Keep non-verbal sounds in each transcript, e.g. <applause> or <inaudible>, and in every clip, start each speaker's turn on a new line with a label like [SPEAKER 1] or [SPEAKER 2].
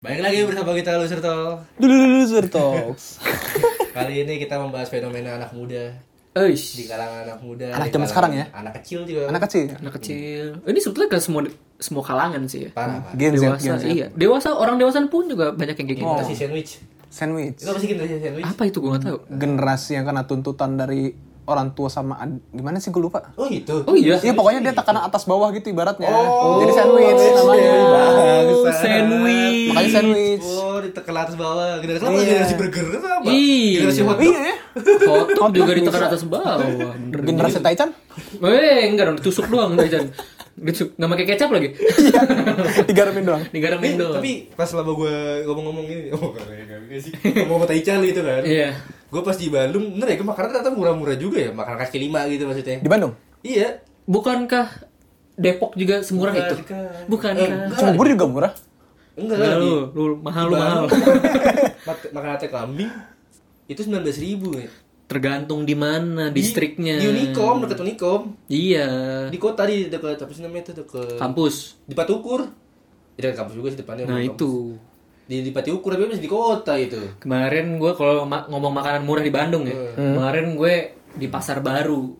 [SPEAKER 1] Baik lagi bersama kita Loser Talk.
[SPEAKER 2] Dulu dulu Sur Talks.
[SPEAKER 1] Kali ini kita membahas fenomena anak muda di
[SPEAKER 3] Eish,
[SPEAKER 1] kalangan anak muda.
[SPEAKER 2] Anak
[SPEAKER 1] di kalangan
[SPEAKER 2] zaman sekarang ya?
[SPEAKER 1] Anak kecil juga.
[SPEAKER 2] Anak kecil.
[SPEAKER 3] anak kecil. Ini sebetulnya ke semua semua kalangan sih ya.
[SPEAKER 1] parah parah.
[SPEAKER 2] Gen Z, Gen
[SPEAKER 3] Dewasa,
[SPEAKER 2] Z.
[SPEAKER 3] iya. Dewasa, orang dewasa pun juga banyak yang kayak gitu.
[SPEAKER 1] Generasi sandwich.
[SPEAKER 2] Sandwich.
[SPEAKER 1] Itu apa sih generasi sandwich?
[SPEAKER 3] Apa itu gue gak tahu.
[SPEAKER 2] Generasi yang karena tuntutan dari orang tua sama ad- gimana sih gue lupa.
[SPEAKER 1] Oh gitu.
[SPEAKER 3] Oh iya.
[SPEAKER 2] Iya pokoknya dia tekanan atas bawah gitu ibaratnya.
[SPEAKER 1] Oh.
[SPEAKER 2] Jadi sandwich namanya.
[SPEAKER 1] Bangsat.
[SPEAKER 3] sandwich.
[SPEAKER 2] Makanya sandwich.
[SPEAKER 1] Oh, ditekan atas bawah. Generasi apa?
[SPEAKER 2] Iya.
[SPEAKER 1] Generasi burger itu apa?
[SPEAKER 3] Iya.
[SPEAKER 1] Generasi hot
[SPEAKER 2] Iya ya.
[SPEAKER 3] Hotdog juga ditekan atas
[SPEAKER 1] <laughs>
[SPEAKER 3] bawah. Bener.
[SPEAKER 2] Generasi Taichan
[SPEAKER 3] Eh, enggak dong, ditusuk doang enggak Jan. Ditusuk, enggak pakai kecap lagi. <laughs>
[SPEAKER 2] digaramin doang.
[SPEAKER 3] Digaramin doang.
[SPEAKER 1] Eh, Tapi pas lama gue ngomong-ngomong ini, oh keren keren sih. Ngomong kota Ical gitu kan.
[SPEAKER 3] Iya.
[SPEAKER 1] Gue pas di Bandung, bener ya, gue makanan ternyata murah-murah juga ya, makanan kaki lima gitu maksudnya.
[SPEAKER 2] Di Bandung.
[SPEAKER 1] Iya,
[SPEAKER 3] Bukankah Depok juga semurah
[SPEAKER 1] Bukan,
[SPEAKER 3] itu?
[SPEAKER 1] bukan. Eh,
[SPEAKER 3] Bukankah?
[SPEAKER 1] enggak.
[SPEAKER 2] Cuma bubur juga murah.
[SPEAKER 1] enggak
[SPEAKER 3] Enggak
[SPEAKER 1] lah.
[SPEAKER 3] lu,
[SPEAKER 1] di-
[SPEAKER 3] lu mahal lu mahal.
[SPEAKER 1] <laughs> Mak- makan ate kambing itu sembilan belas ribu ya.
[SPEAKER 3] Tergantung di mana distriknya.
[SPEAKER 1] Di Unicom, dekat Unicom.
[SPEAKER 3] Iya.
[SPEAKER 1] Di kota di dekat apa sih namanya itu dekat
[SPEAKER 3] Kampus.
[SPEAKER 1] di Patukur. Ya dekat kampus juga sih depannya.
[SPEAKER 3] Nah,
[SPEAKER 1] Unicom.
[SPEAKER 3] itu.
[SPEAKER 1] Di di Patukur tapi masih di kota gitu. itu.
[SPEAKER 3] Kemarin gue kalau ma- ngomong makanan murah di Bandung ya, kemarin gue di pasar baru.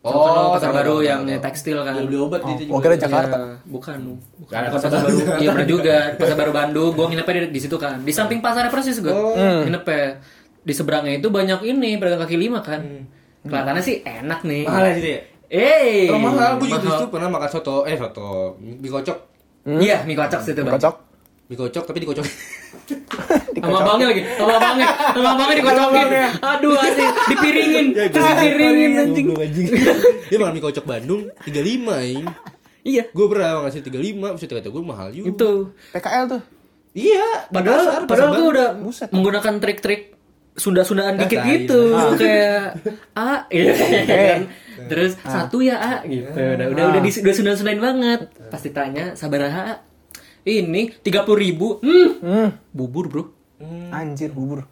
[SPEAKER 3] Tau kan lo pasar
[SPEAKER 1] tahu,
[SPEAKER 3] baru
[SPEAKER 1] tahu,
[SPEAKER 3] yang
[SPEAKER 1] tahu, tahu.
[SPEAKER 3] tekstil kan.
[SPEAKER 1] Oh, Yang beli obat itu
[SPEAKER 2] Oh, kira Jakarta.
[SPEAKER 3] Ya, bukan, bukan.
[SPEAKER 1] Ada
[SPEAKER 3] Bukan
[SPEAKER 1] pasar
[SPEAKER 3] pasar baru. Iya bener juga. Pasar baru Bandung. Gue nginepnya di, di situ kan. Di samping pasar persis gue. Nginepnya di seberangnya itu banyak ini pedagang kaki lima kan. Kelihatannya sih enak nih.
[SPEAKER 1] Mahal ya, gitu ya.
[SPEAKER 3] Eh,
[SPEAKER 1] Oh, mahal, gue juga
[SPEAKER 3] mahal.
[SPEAKER 1] itu pernah makan soto, eh soto, mie kocok,
[SPEAKER 3] Iya, mie kocok situ bang.
[SPEAKER 2] Kocok.
[SPEAKER 1] mie kocok tapi dikocok. <laughs>
[SPEAKER 3] Sama abangnya lagi, sama abangnya, sama abangnya dikocokin. Aduh, anjing, dipiringin,
[SPEAKER 1] Ya,
[SPEAKER 3] terus dipiringin anjing.
[SPEAKER 1] <laughs> Dia makan mie kocok Bandung 35 ing.
[SPEAKER 3] Iya,
[SPEAKER 1] Gue pernah makan sih 35, maksudnya kata gue mahal juga.
[SPEAKER 3] itu.
[SPEAKER 2] PKL tuh.
[SPEAKER 1] Iya,
[SPEAKER 3] Padahal
[SPEAKER 1] pasar, pasar
[SPEAKER 3] padahal gue
[SPEAKER 1] Bandung.
[SPEAKER 3] udah
[SPEAKER 2] Buset.
[SPEAKER 3] menggunakan trik-trik Sunda-Sundaan dikit
[SPEAKER 1] tai.
[SPEAKER 3] gitu, kayak A gitu <laughs> kan. Terus satu ya A gitu. Udah udah udah, di, udah Sunda-Sundain banget. Pasti tanya, sabaraha A?" Ini 30.000 ribu Hmm.
[SPEAKER 2] Hmm.
[SPEAKER 3] Bubur, Bro.
[SPEAKER 2] Anjir bubur.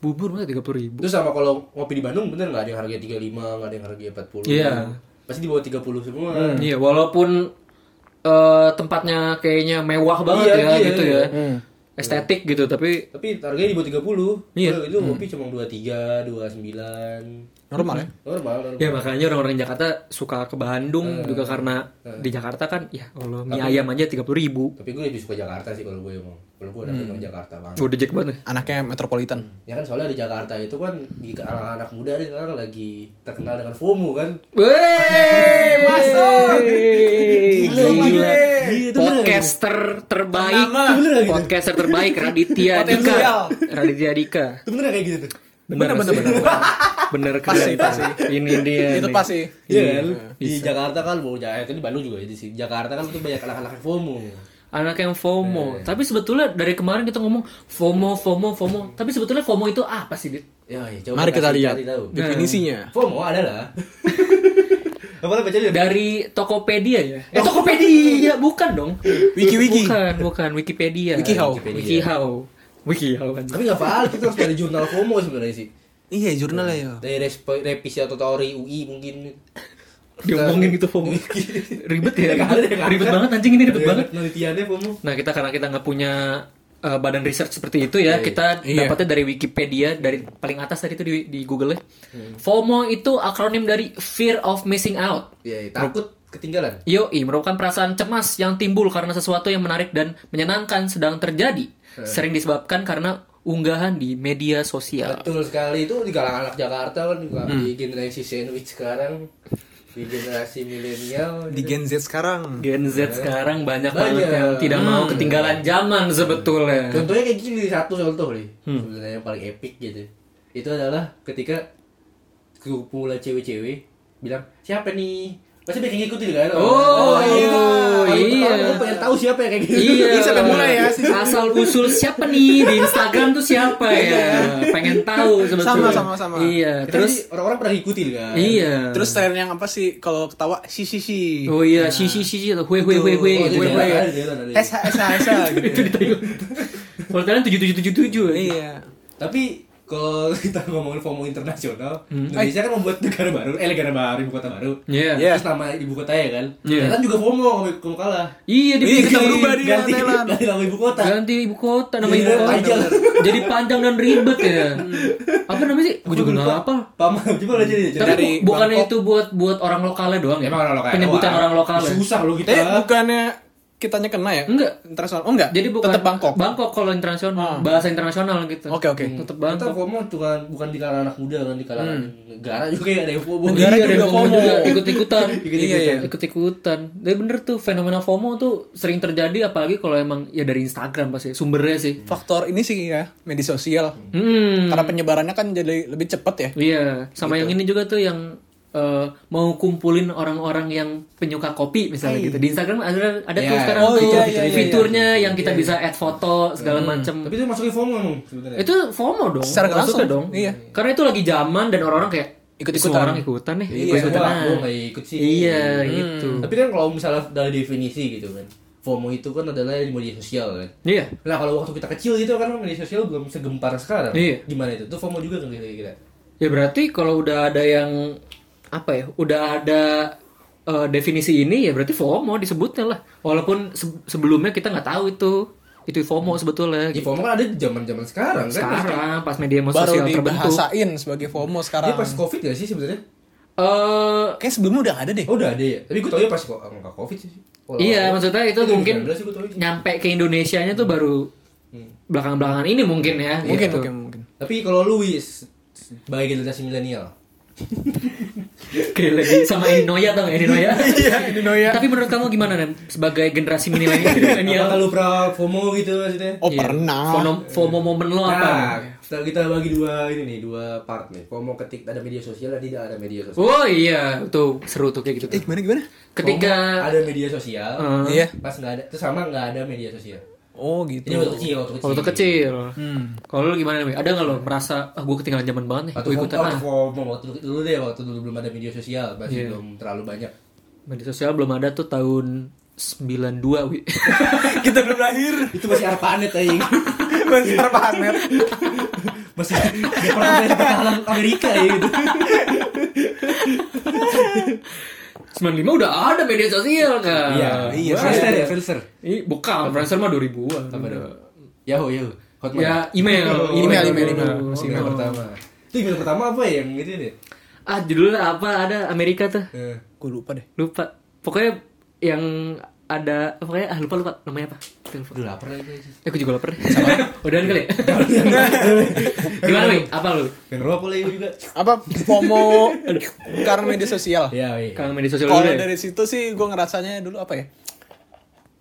[SPEAKER 3] Bubur masa 30.000 ribu
[SPEAKER 1] Hmm. Terus sama kalau ngopi di Bandung bener nggak ada yang harga 35, nggak ada yang harga 40.
[SPEAKER 3] Iya.
[SPEAKER 1] Pasti di bawah 30 semua.
[SPEAKER 3] Iya, walaupun eh, tempatnya kayaknya mewah
[SPEAKER 1] Iya,
[SPEAKER 3] banget ya
[SPEAKER 1] iya,
[SPEAKER 3] gitu
[SPEAKER 1] iya.
[SPEAKER 3] ya. Estetik gitu, tapi
[SPEAKER 1] Tapi harganya di bawah 30.
[SPEAKER 3] Iya.
[SPEAKER 1] Itu ngopi cuma 23, 29.
[SPEAKER 2] Normal ya.
[SPEAKER 1] Normal, normal.
[SPEAKER 3] ya makanya orang-orang Jakarta suka ke Bandung juga karena di Jakarta kan ya Allah mie ayam aja 30.000 ribu
[SPEAKER 1] Tapi gue lebih suka Jakarta sih kalau gue emang. Kalau gue
[SPEAKER 3] Hmm.
[SPEAKER 1] dapet emang Jakarta banget.
[SPEAKER 3] Udah jack banget.
[SPEAKER 2] Anaknya metropolitan.
[SPEAKER 1] Ya kan soalnya di Jakarta itu kan di anak-anak muda nih sekarang lagi terkenal dengan FOMO kan.
[SPEAKER 3] Wey, masuk. Gila, Iya, gila.
[SPEAKER 1] Gila,
[SPEAKER 3] Podcaster terbaik.
[SPEAKER 1] Bener gak gitu?
[SPEAKER 3] Podcaster terbaik Raditya Dika. Raditya Dika.
[SPEAKER 1] Itu bener kayak gitu tuh.
[SPEAKER 3] Bener bener bener. Bener keren. Ini dia.
[SPEAKER 2] Itu
[SPEAKER 3] nih.
[SPEAKER 2] pasti.
[SPEAKER 1] Iya kan? Di Jakarta kan mau Jakarta itu di Bandung juga ya, di sini. Jakarta kan itu banyak anak-anak yang FOMO.
[SPEAKER 3] anak yang FOMO. Tapi sebetulnya dari kemarin kita ngomong FOMO, FOMO, FOMO. Tapi sebetulnya FOMO itu apa sih, Dit?
[SPEAKER 1] Ya, ya, coba
[SPEAKER 2] Mari kita
[SPEAKER 1] kasih-
[SPEAKER 2] lihat
[SPEAKER 1] cari tahu.
[SPEAKER 3] Iya.
[SPEAKER 2] definisinya.
[SPEAKER 1] FOMO <laughs> adalah apa lo baca dulu?
[SPEAKER 3] Dari Tokopedia ya? Eh, Tokopedia bukan dong.
[SPEAKER 2] Wiki-wiki.
[SPEAKER 3] Bukan, bukan Wikipedia.
[SPEAKER 2] Wikihow.
[SPEAKER 3] Wikihow. Wikihow kan.
[SPEAKER 1] Tapi nggak faal, kita harus dari jurnal FOMO sebenarnya sih.
[SPEAKER 2] Iya jurnal ya.
[SPEAKER 1] Dari resp- revisi atau teori UI mungkin.
[SPEAKER 3] Diomongin gitu FOMO. ribet ya?
[SPEAKER 1] Nggak ada, nggak ada.
[SPEAKER 3] Ribet banget anjing ini ribet
[SPEAKER 1] Dari
[SPEAKER 3] banget.
[SPEAKER 1] Iya, Penelitiannya FOMO.
[SPEAKER 3] Nah, kita karena kita nggak punya eh, badan research seperti itu ya, kita
[SPEAKER 2] Iya.
[SPEAKER 3] dapatnya dari Wikipedia dari paling atas tadi itu di, di Google ya. FOMO itu akronim dari Fear of Missing Out.
[SPEAKER 1] Ya, takut ketinggalan.
[SPEAKER 3] Yoi merupakan perasaan cemas yang timbul karena sesuatu yang menarik dan menyenangkan sedang terjadi.
[SPEAKER 2] Eh.
[SPEAKER 3] Sering disebabkan karena unggahan di media sosial.
[SPEAKER 1] Betul sekali itu di kalangan anak Jakarta kan juga
[SPEAKER 3] Hmm.
[SPEAKER 1] di generasi sandwich sekarang di generasi milenial
[SPEAKER 2] Di Gen Z sekarang.
[SPEAKER 3] Gen Z sekarang banyak,
[SPEAKER 1] Banyak.
[SPEAKER 3] banget yang tidak mau ketinggalan zaman sebetulnya.
[SPEAKER 1] Contohnya kayak gini satu contoh nih.
[SPEAKER 3] Hmm.
[SPEAKER 1] Sebenarnya yang paling epic gitu. Itu adalah ketika kumpulan cewek-cewek bilang siapa nih? Pasti banyak yang ngikutin kan?
[SPEAKER 3] Oh,
[SPEAKER 1] Kalau
[SPEAKER 3] iya.
[SPEAKER 1] pertama Gue pengen tahu siapa yang kayak gitu.
[SPEAKER 2] <laughs>
[SPEAKER 3] Iya,
[SPEAKER 2] siapa yang mulai ya?
[SPEAKER 3] Asal usul siapa nih di Instagram tuh siapa ya? Pengen tahu sebetulnya.
[SPEAKER 2] Iya. Sama, sama, sama. eh,
[SPEAKER 3] Iya,
[SPEAKER 1] Terus
[SPEAKER 3] terus
[SPEAKER 1] orang-orang pernah ngikutin kan?
[SPEAKER 3] iya.
[SPEAKER 2] Terus tren yang apa sih kalau ketawa si si si.
[SPEAKER 3] Oh iya, si si si si atau hue hue gitu. hue hue
[SPEAKER 1] Oh, itu
[SPEAKER 3] hue
[SPEAKER 1] di
[SPEAKER 3] hue.
[SPEAKER 1] Thailand, di Thailand ada.
[SPEAKER 2] SH SH SH gitu.
[SPEAKER 3] Itu di Thailand. Kalau Thailand 7777.
[SPEAKER 2] Iya.
[SPEAKER 1] Tapi kalau <laughs> kita ngomongin FOMO internasional,
[SPEAKER 3] Hmm.
[SPEAKER 1] Indonesia kan membuat negara baru, eh negara baru, ibu kota baru.
[SPEAKER 3] Iya.
[SPEAKER 2] Iya.
[SPEAKER 1] Terus nama ibu kota ya kan.
[SPEAKER 3] Iya.
[SPEAKER 1] Thailand juga FOMO kamu, kamu kalah.
[SPEAKER 3] Iya, dibikin
[SPEAKER 2] kita berubah di
[SPEAKER 1] ganti,
[SPEAKER 2] Thailand.
[SPEAKER 1] ganti nama ibu kota.
[SPEAKER 3] ganti ibu kota nama ibu
[SPEAKER 1] Iya,
[SPEAKER 3] kota.
[SPEAKER 1] panjang. Hmm.
[SPEAKER 3] Jadi panjang dan ribet ya. Apa namanya sih? Gue juga nggak apa.
[SPEAKER 1] Paman coba lah jadi.
[SPEAKER 3] Tapi
[SPEAKER 1] Jadi
[SPEAKER 3] bu- bukannya
[SPEAKER 1] Bangkok.
[SPEAKER 3] itu buat buat orang lokalnya doang ya?
[SPEAKER 1] Emang orang lokal.
[SPEAKER 3] Penyebutan
[SPEAKER 1] Wah,
[SPEAKER 3] orang ya? lokalnya.
[SPEAKER 1] Susah loh kita.
[SPEAKER 2] Eh, bukannya kitanya kena ya?
[SPEAKER 3] Enggak.
[SPEAKER 2] Internasional. Oh, enggak.
[SPEAKER 3] Jadi bukan
[SPEAKER 2] tetap Bangkok.
[SPEAKER 3] Bangkok kalau internasional, bahasa internasional gitu.
[SPEAKER 2] Oke, oke.
[SPEAKER 1] Kita
[SPEAKER 3] Tetap Bangkok.
[SPEAKER 1] FOMO bukan bukan di kalangan anak muda kan di kalangan negara juga ya ada yang FOMO.
[SPEAKER 2] Negara
[SPEAKER 3] Iya, dan
[SPEAKER 2] juga
[SPEAKER 3] FOMO
[SPEAKER 2] FOMO.
[SPEAKER 3] juga
[SPEAKER 1] <laughs>
[SPEAKER 3] ikut-ikutan.
[SPEAKER 2] Iya, iya.
[SPEAKER 3] Ikut-ikutan. Tapi bener tuh fenomena FOMO tuh sering terjadi apalagi kalau emang ya dari Instagram pasti sumbernya sih.
[SPEAKER 2] Faktor ini sih ya, media sosial.
[SPEAKER 3] Hmm.
[SPEAKER 2] Karena penyebarannya kan jadi lebih cepat ya.
[SPEAKER 3] Iya, sama yang ini juga tuh yang eh, mau kumpulin orang-orang yang penyuka kopi misalnya gitu. Di Instagram ada ada tuh
[SPEAKER 1] Ya.
[SPEAKER 3] sekarang
[SPEAKER 2] Iya. Oh,
[SPEAKER 3] tuh
[SPEAKER 2] iya, iya, iya,
[SPEAKER 3] fiturnya yang kita bisa add foto segala
[SPEAKER 2] Hmm.
[SPEAKER 3] macem
[SPEAKER 1] Tapi itu masuknya FOMO emang sebenarnya.
[SPEAKER 3] Itu FOMO dong.
[SPEAKER 2] Secara nggak
[SPEAKER 3] masuknya
[SPEAKER 2] langsung,
[SPEAKER 3] dong.
[SPEAKER 2] iya.
[SPEAKER 3] Karena itu lagi zaman dan orang-orang kayak
[SPEAKER 2] Ikut-ikutan. Hmm.
[SPEAKER 3] semua orang ikutan nih.
[SPEAKER 1] Iya,
[SPEAKER 3] ikutan.
[SPEAKER 1] gua, gua gak ikut sih.
[SPEAKER 3] Iya, gitu.
[SPEAKER 1] Tapi kan kalau misalnya dari definisi gitu kan, FOMO itu kan adalah di media sosial kan.
[SPEAKER 3] Iya.
[SPEAKER 1] Nah kalau waktu kita kecil gitu kan media sosial belum segempar sekarang.
[SPEAKER 3] Iya.
[SPEAKER 1] Gimana itu? Itu FOMO juga kan kira-kira.
[SPEAKER 3] Ya berarti kalau udah ada yang apa ya, udah ada eh, definisi ini ya berarti FOMO disebutnya lah. Walaupun se- sebelumnya kita nggak tahu itu itu FOMO sebetulnya.
[SPEAKER 1] Ya
[SPEAKER 3] gitu.
[SPEAKER 1] FOMO kan ada di zaman-zaman sekarang kan.
[SPEAKER 3] sekarang pas media
[SPEAKER 2] Baru
[SPEAKER 3] sosial terbentuk
[SPEAKER 2] dibahasain sebagai FOMO
[SPEAKER 1] Dia
[SPEAKER 2] sekarang.
[SPEAKER 1] pas COVID gak sih sebenarnya?
[SPEAKER 3] eh
[SPEAKER 2] Kayak sebelumnya udah ada deh.
[SPEAKER 1] Oh udah ada ya. Tapi gue tau ya pas kok nggak COVID sih. Kalau-
[SPEAKER 3] iya maksudnya itu
[SPEAKER 1] 2019
[SPEAKER 3] mungkin
[SPEAKER 1] sih gua tau ya.
[SPEAKER 3] nyampe ke Indonesianya tuh baru belakang-belakangan ini mungkin ya
[SPEAKER 2] Mungkin,
[SPEAKER 3] gitu.
[SPEAKER 2] Iya, mungkin, mungkin.
[SPEAKER 1] Tapi kalau lu Wis, sebagai generasi milenial,
[SPEAKER 3] Kayak lagi sama Ininoya tau gak Ininoya
[SPEAKER 2] Iya, ini Noya.
[SPEAKER 3] tapi menurut kamu gimana Nan? sebagai generasi milenial
[SPEAKER 1] apakah
[SPEAKER 3] milenial
[SPEAKER 1] lu pernah FOMO gitu maksudnya?
[SPEAKER 2] Oh,
[SPEAKER 3] Iya.
[SPEAKER 2] pernah.
[SPEAKER 3] FOMO, FOMO momen lo apa
[SPEAKER 1] Nah, kita, kita bagi dua ini nih, dua part nih. FOMO ketika ada media sosial dan tidak ada media sosial.
[SPEAKER 3] oh iya tuh seru tuh kayak gitu
[SPEAKER 2] Eh,
[SPEAKER 3] tuh.
[SPEAKER 2] gimana gimana?
[SPEAKER 1] FOMO
[SPEAKER 3] ketika
[SPEAKER 1] ada media sosial,
[SPEAKER 3] eh,
[SPEAKER 2] Iya.
[SPEAKER 1] pas nggak ada, terus sama nggak ada media sosial.
[SPEAKER 2] Oh,
[SPEAKER 1] Ini
[SPEAKER 2] gitu. <laughs>
[SPEAKER 1] waktu kecil, waktu kecil.
[SPEAKER 3] waktu kecil
[SPEAKER 1] Hmm.
[SPEAKER 3] kalau lo gimana nih ada nggak lo merasa ah gue ketinggalan zaman banget nih
[SPEAKER 1] Waktu
[SPEAKER 3] gue
[SPEAKER 1] ikutan
[SPEAKER 3] ikutan ah
[SPEAKER 1] FOMO, waktu dulu deh, waktu dulu belum ada media sosial, masih
[SPEAKER 3] Iya.
[SPEAKER 1] belum terlalu banyak.
[SPEAKER 3] media sosial belum ada tuh tahun 92 wi <laughs>
[SPEAKER 2] Kita belum lahir.
[SPEAKER 1] Itu masih arpanet aja. <laughs>
[SPEAKER 2] Masih terpanet.
[SPEAKER 1] masih nggak pernah main pertahanan Amerika ya gitu.
[SPEAKER 3] 95 udah ada media sosial kan?
[SPEAKER 1] Iya, iya. Friendster ya, Friendster.
[SPEAKER 3] Ini bukan, Friendster mah 2000-an.
[SPEAKER 1] Yahoo, Yahoo. Hotmail.
[SPEAKER 3] Ya, email,
[SPEAKER 2] Email, email, email.
[SPEAKER 1] Oh, email pertama. Itu email pertama apa ya yang gitu deh?
[SPEAKER 3] Ah, judulnya apa? Ada Amerika tuh.
[SPEAKER 1] Eh,
[SPEAKER 2] Gue lupa deh.
[SPEAKER 3] Lupa. Pokoknya yang ada pokoknya ah lupa lupa namanya apa? Telepon.
[SPEAKER 1] Aduh lapar lagi guys.
[SPEAKER 3] Eh, aku juga lapar. Udahan kali. ya? Gimana, Wi? Apa lu?
[SPEAKER 1] Yang rokok lagi juga.
[SPEAKER 2] Apa FOMO karena media sosial?
[SPEAKER 1] Ya, iya.
[SPEAKER 3] Kangen media sosial
[SPEAKER 2] Kalau
[SPEAKER 3] dulu ya?
[SPEAKER 2] dari situ sih gue ngerasanya dulu apa ya?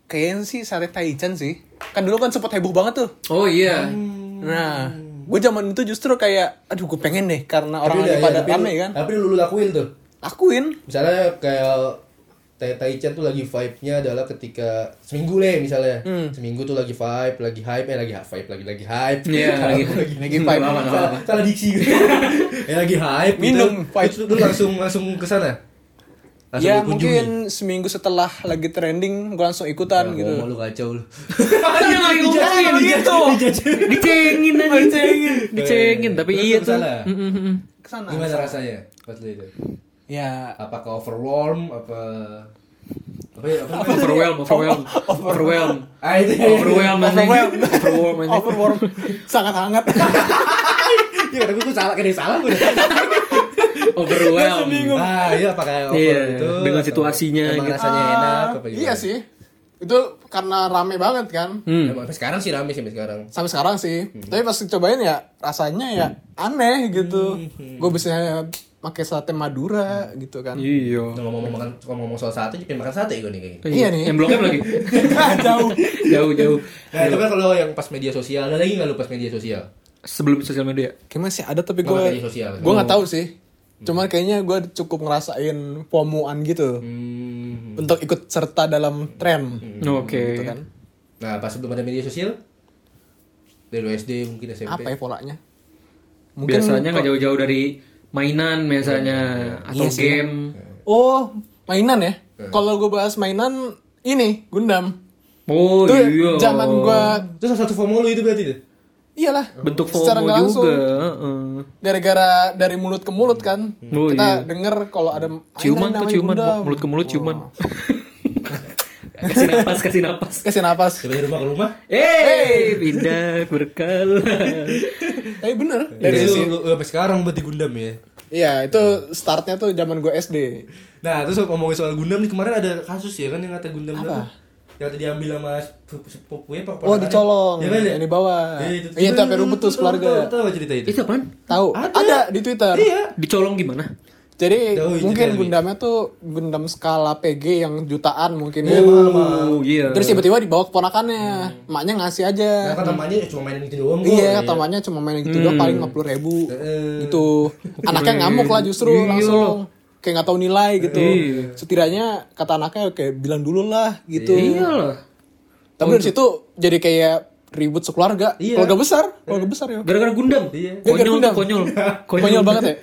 [SPEAKER 2] Kayaknya sih sate taichan sih. Kan dulu kan sempat heboh banget tuh.
[SPEAKER 3] Oh iya.
[SPEAKER 1] Hmm.
[SPEAKER 2] Nah, gue zaman itu justru kayak, aduh gue pengen deh karena orang lagi pada rame kan.
[SPEAKER 1] ya, Tapi lu, lu lakuin tuh.
[SPEAKER 2] Lakuin.
[SPEAKER 1] Misalnya kayak Tai Taichan tuh lagi vibe-nya adalah ketika seminggu deh misalnya. Seminggu tuh lagi vibe, lagi hype, eh lagi hype, lagi lagi hype.
[SPEAKER 3] Iya,
[SPEAKER 1] Salah-
[SPEAKER 3] lagi-
[SPEAKER 2] lagi vibe.
[SPEAKER 1] Salah- Salah diksi gitu. eh lagi hype gitu.
[SPEAKER 2] Minum, vibe.
[SPEAKER 1] Terus lu, lu langsung langsung ke sana. Langsung
[SPEAKER 2] Ya
[SPEAKER 1] lu kunjungi.
[SPEAKER 2] mungkin seminggu setelah lagi trending, gue langsung ikutan
[SPEAKER 1] Nah,
[SPEAKER 2] gitu.
[SPEAKER 1] ngomong lu kacau lu.
[SPEAKER 3] Kan
[SPEAKER 1] <laughs>
[SPEAKER 3] yang lagi ngomongin gitu.
[SPEAKER 2] <laughs>
[SPEAKER 3] Dicengin aja. Dicengin. Dicengin, tapi
[SPEAKER 1] Terus
[SPEAKER 3] iya
[SPEAKER 1] lu
[SPEAKER 3] tuh.
[SPEAKER 1] kesana.
[SPEAKER 3] Mm, mm, mm.
[SPEAKER 2] Kesana.
[SPEAKER 1] Gimana rasanya pas lu itu? <laughs>
[SPEAKER 2] Ya.
[SPEAKER 1] Apakah overwarm apa apa ya, apa namanya?
[SPEAKER 3] Overwhelm, overwhelm, overwhelm.
[SPEAKER 1] Ah itu ya.
[SPEAKER 3] Overwhelm anjing.
[SPEAKER 2] Overwhelm.
[SPEAKER 3] Overwhelm anjing.
[SPEAKER 2] Overwarm sangat hangat.
[SPEAKER 1] Ya tapi gue salah, kena salah gue.
[SPEAKER 3] Overwhelm.
[SPEAKER 1] Ah, iya apakah over
[SPEAKER 3] Iya,
[SPEAKER 1] itu
[SPEAKER 3] dengan
[SPEAKER 1] atau
[SPEAKER 3] situasinya
[SPEAKER 1] emang
[SPEAKER 3] gitu.
[SPEAKER 1] rasanya enak
[SPEAKER 2] <laughs>
[SPEAKER 1] apa gimana?
[SPEAKER 2] iya sih. Itu karena rame banget kan.
[SPEAKER 3] Hmm.
[SPEAKER 1] Emang sampai sekarang sih rame sih sampai sekarang.
[SPEAKER 2] sampai sekarang sih tapi pas cobain ya rasanya ya
[SPEAKER 3] Hmm.
[SPEAKER 2] aneh gitu gue bisa pakai sate madura gitu kan <laughs>
[SPEAKER 3] Iya.
[SPEAKER 1] Udah ngomong makan ngomong soal sate, jadi pengen makan sate gue nih kayaknya.
[SPEAKER 2] Iya nih.
[SPEAKER 3] Yang belum lagi. <laughs>
[SPEAKER 2] Ah, jauh
[SPEAKER 3] Jauh jauh.
[SPEAKER 1] Nah, itu kan kalau yang pas media sosial, ada lagi nggak lu pas media sosial?
[SPEAKER 3] Sebelum sosial media.
[SPEAKER 2] kayaknya masih ada tapi gue
[SPEAKER 1] Makan media sosial.
[SPEAKER 2] gue nggak tahu sih
[SPEAKER 3] Hmm.
[SPEAKER 2] cuma kayaknya gue cukup ngerasain pomuan gitu
[SPEAKER 1] Hmm.
[SPEAKER 2] untuk ikut serta dalam tren
[SPEAKER 3] Hmm. Oh, Oke.
[SPEAKER 2] gitu kan
[SPEAKER 1] Nah, pas sebelum ada media sosial dari lu SD mungkin SMP.
[SPEAKER 2] apa ya polanya mungkin
[SPEAKER 3] Biasanya nggak jauh-jauh dari mainan biasanya atau
[SPEAKER 2] Iya sih.
[SPEAKER 3] game.
[SPEAKER 2] oh mainan ya
[SPEAKER 3] Hmm.
[SPEAKER 2] kalau gue bahas mainan ini gundam
[SPEAKER 3] Oh
[SPEAKER 2] Itu
[SPEAKER 3] iya.
[SPEAKER 2] zaman gue
[SPEAKER 1] Itu salah satu FOMO lu itu berarti tuh.
[SPEAKER 2] iyalah
[SPEAKER 3] bentuk
[SPEAKER 2] Secara
[SPEAKER 3] FOMO
[SPEAKER 2] nggak langsung.
[SPEAKER 3] juga heeh.
[SPEAKER 2] gara-gara dari mulut ke mulut kan
[SPEAKER 3] Oh,
[SPEAKER 2] kita
[SPEAKER 3] iya.
[SPEAKER 2] denger kalau ada
[SPEAKER 3] ciuman
[SPEAKER 2] ada
[SPEAKER 3] tuh
[SPEAKER 2] namanya
[SPEAKER 3] ciuman
[SPEAKER 2] Gundam.
[SPEAKER 3] mulut ke mulut ciuman <laughs> kasih napas kasih napas
[SPEAKER 2] kasih napas
[SPEAKER 1] dari rumah ke rumah
[SPEAKER 3] eh pindah
[SPEAKER 2] <laughs>
[SPEAKER 3] berkala
[SPEAKER 2] tapi bener
[SPEAKER 3] Iya
[SPEAKER 2] dari
[SPEAKER 1] dari
[SPEAKER 2] sisi
[SPEAKER 1] lu, lu- sampai sekarang berarti Gundam ya
[SPEAKER 2] iya itu startnya tuh zaman gue SD
[SPEAKER 1] nah terus ngomongin soal Gundam nih kemarin ada kasus ya kan yang kata Gundam apa? yang tadi diambil sama sepupu- sepupunya apa
[SPEAKER 2] oh
[SPEAKER 1] keponakannya.
[SPEAKER 2] dicolong
[SPEAKER 1] ya kan ya
[SPEAKER 2] yang dibawa
[SPEAKER 1] Iya,
[SPEAKER 2] iya itu sampai rumput tuh
[SPEAKER 1] Tahu-
[SPEAKER 2] sekeluarga ya?
[SPEAKER 1] tahu tahu cerita itu
[SPEAKER 3] itu apaan
[SPEAKER 2] tahu
[SPEAKER 1] Ada.
[SPEAKER 2] ada di Twitter
[SPEAKER 1] iya
[SPEAKER 3] dicolong gimana
[SPEAKER 2] Jadi
[SPEAKER 1] Jauh itu
[SPEAKER 2] mungkin
[SPEAKER 1] dari-
[SPEAKER 2] Gundamnya tuh Gundam skala PG yang jutaan mungkin ya.
[SPEAKER 3] oh iya
[SPEAKER 2] Terus tiba-tiba dibawa ke ponakannya, maknya ngasih aja.
[SPEAKER 1] nah kan namanya cuma mainin gitu doang kok.
[SPEAKER 2] iya, tamannya cuma main gitu doang paling 50 ribu gitu. Anaknya ngamuk lah justru langsung kayak nggak tahu nilai gitu. Setidaknya kata anaknya kayak bilang dulu lah gitu.
[SPEAKER 3] iyalah
[SPEAKER 2] Tapi dari situ jadi kayak ribut sekeluarga, keluarga besar, keluarga besar ya.
[SPEAKER 3] gara-gara Gundam
[SPEAKER 1] Iya.
[SPEAKER 2] Gara-gara
[SPEAKER 3] konyol
[SPEAKER 2] Gundam.
[SPEAKER 3] konyol
[SPEAKER 2] <laughs> Konyol banget ya?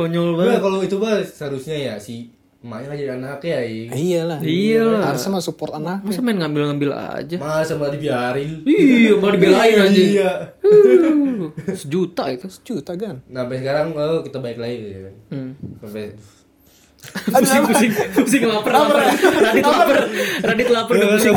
[SPEAKER 3] konyol
[SPEAKER 1] Nah,
[SPEAKER 3] banget
[SPEAKER 1] kalau itu bah seharusnya ya si emaknya ngajarin anaknya ya.
[SPEAKER 2] Eh, iyalah.
[SPEAKER 3] iyalah
[SPEAKER 2] Harusnya mah support anak.
[SPEAKER 3] masa main ngambil-ngambil aja
[SPEAKER 1] Malah sama dibiarin.
[SPEAKER 3] iya malah dibelain aja
[SPEAKER 1] Iya.
[SPEAKER 3] Uh, sejuta itu
[SPEAKER 2] Juta kan.
[SPEAKER 1] Nah, sampai sekarang oh, kita balik lagi gitu kan. Sampai
[SPEAKER 3] Hmm. pusing pusing pusing lapar lapar radit lapar radit lapar
[SPEAKER 1] <laughs>
[SPEAKER 3] udah
[SPEAKER 2] Iya,
[SPEAKER 3] pusing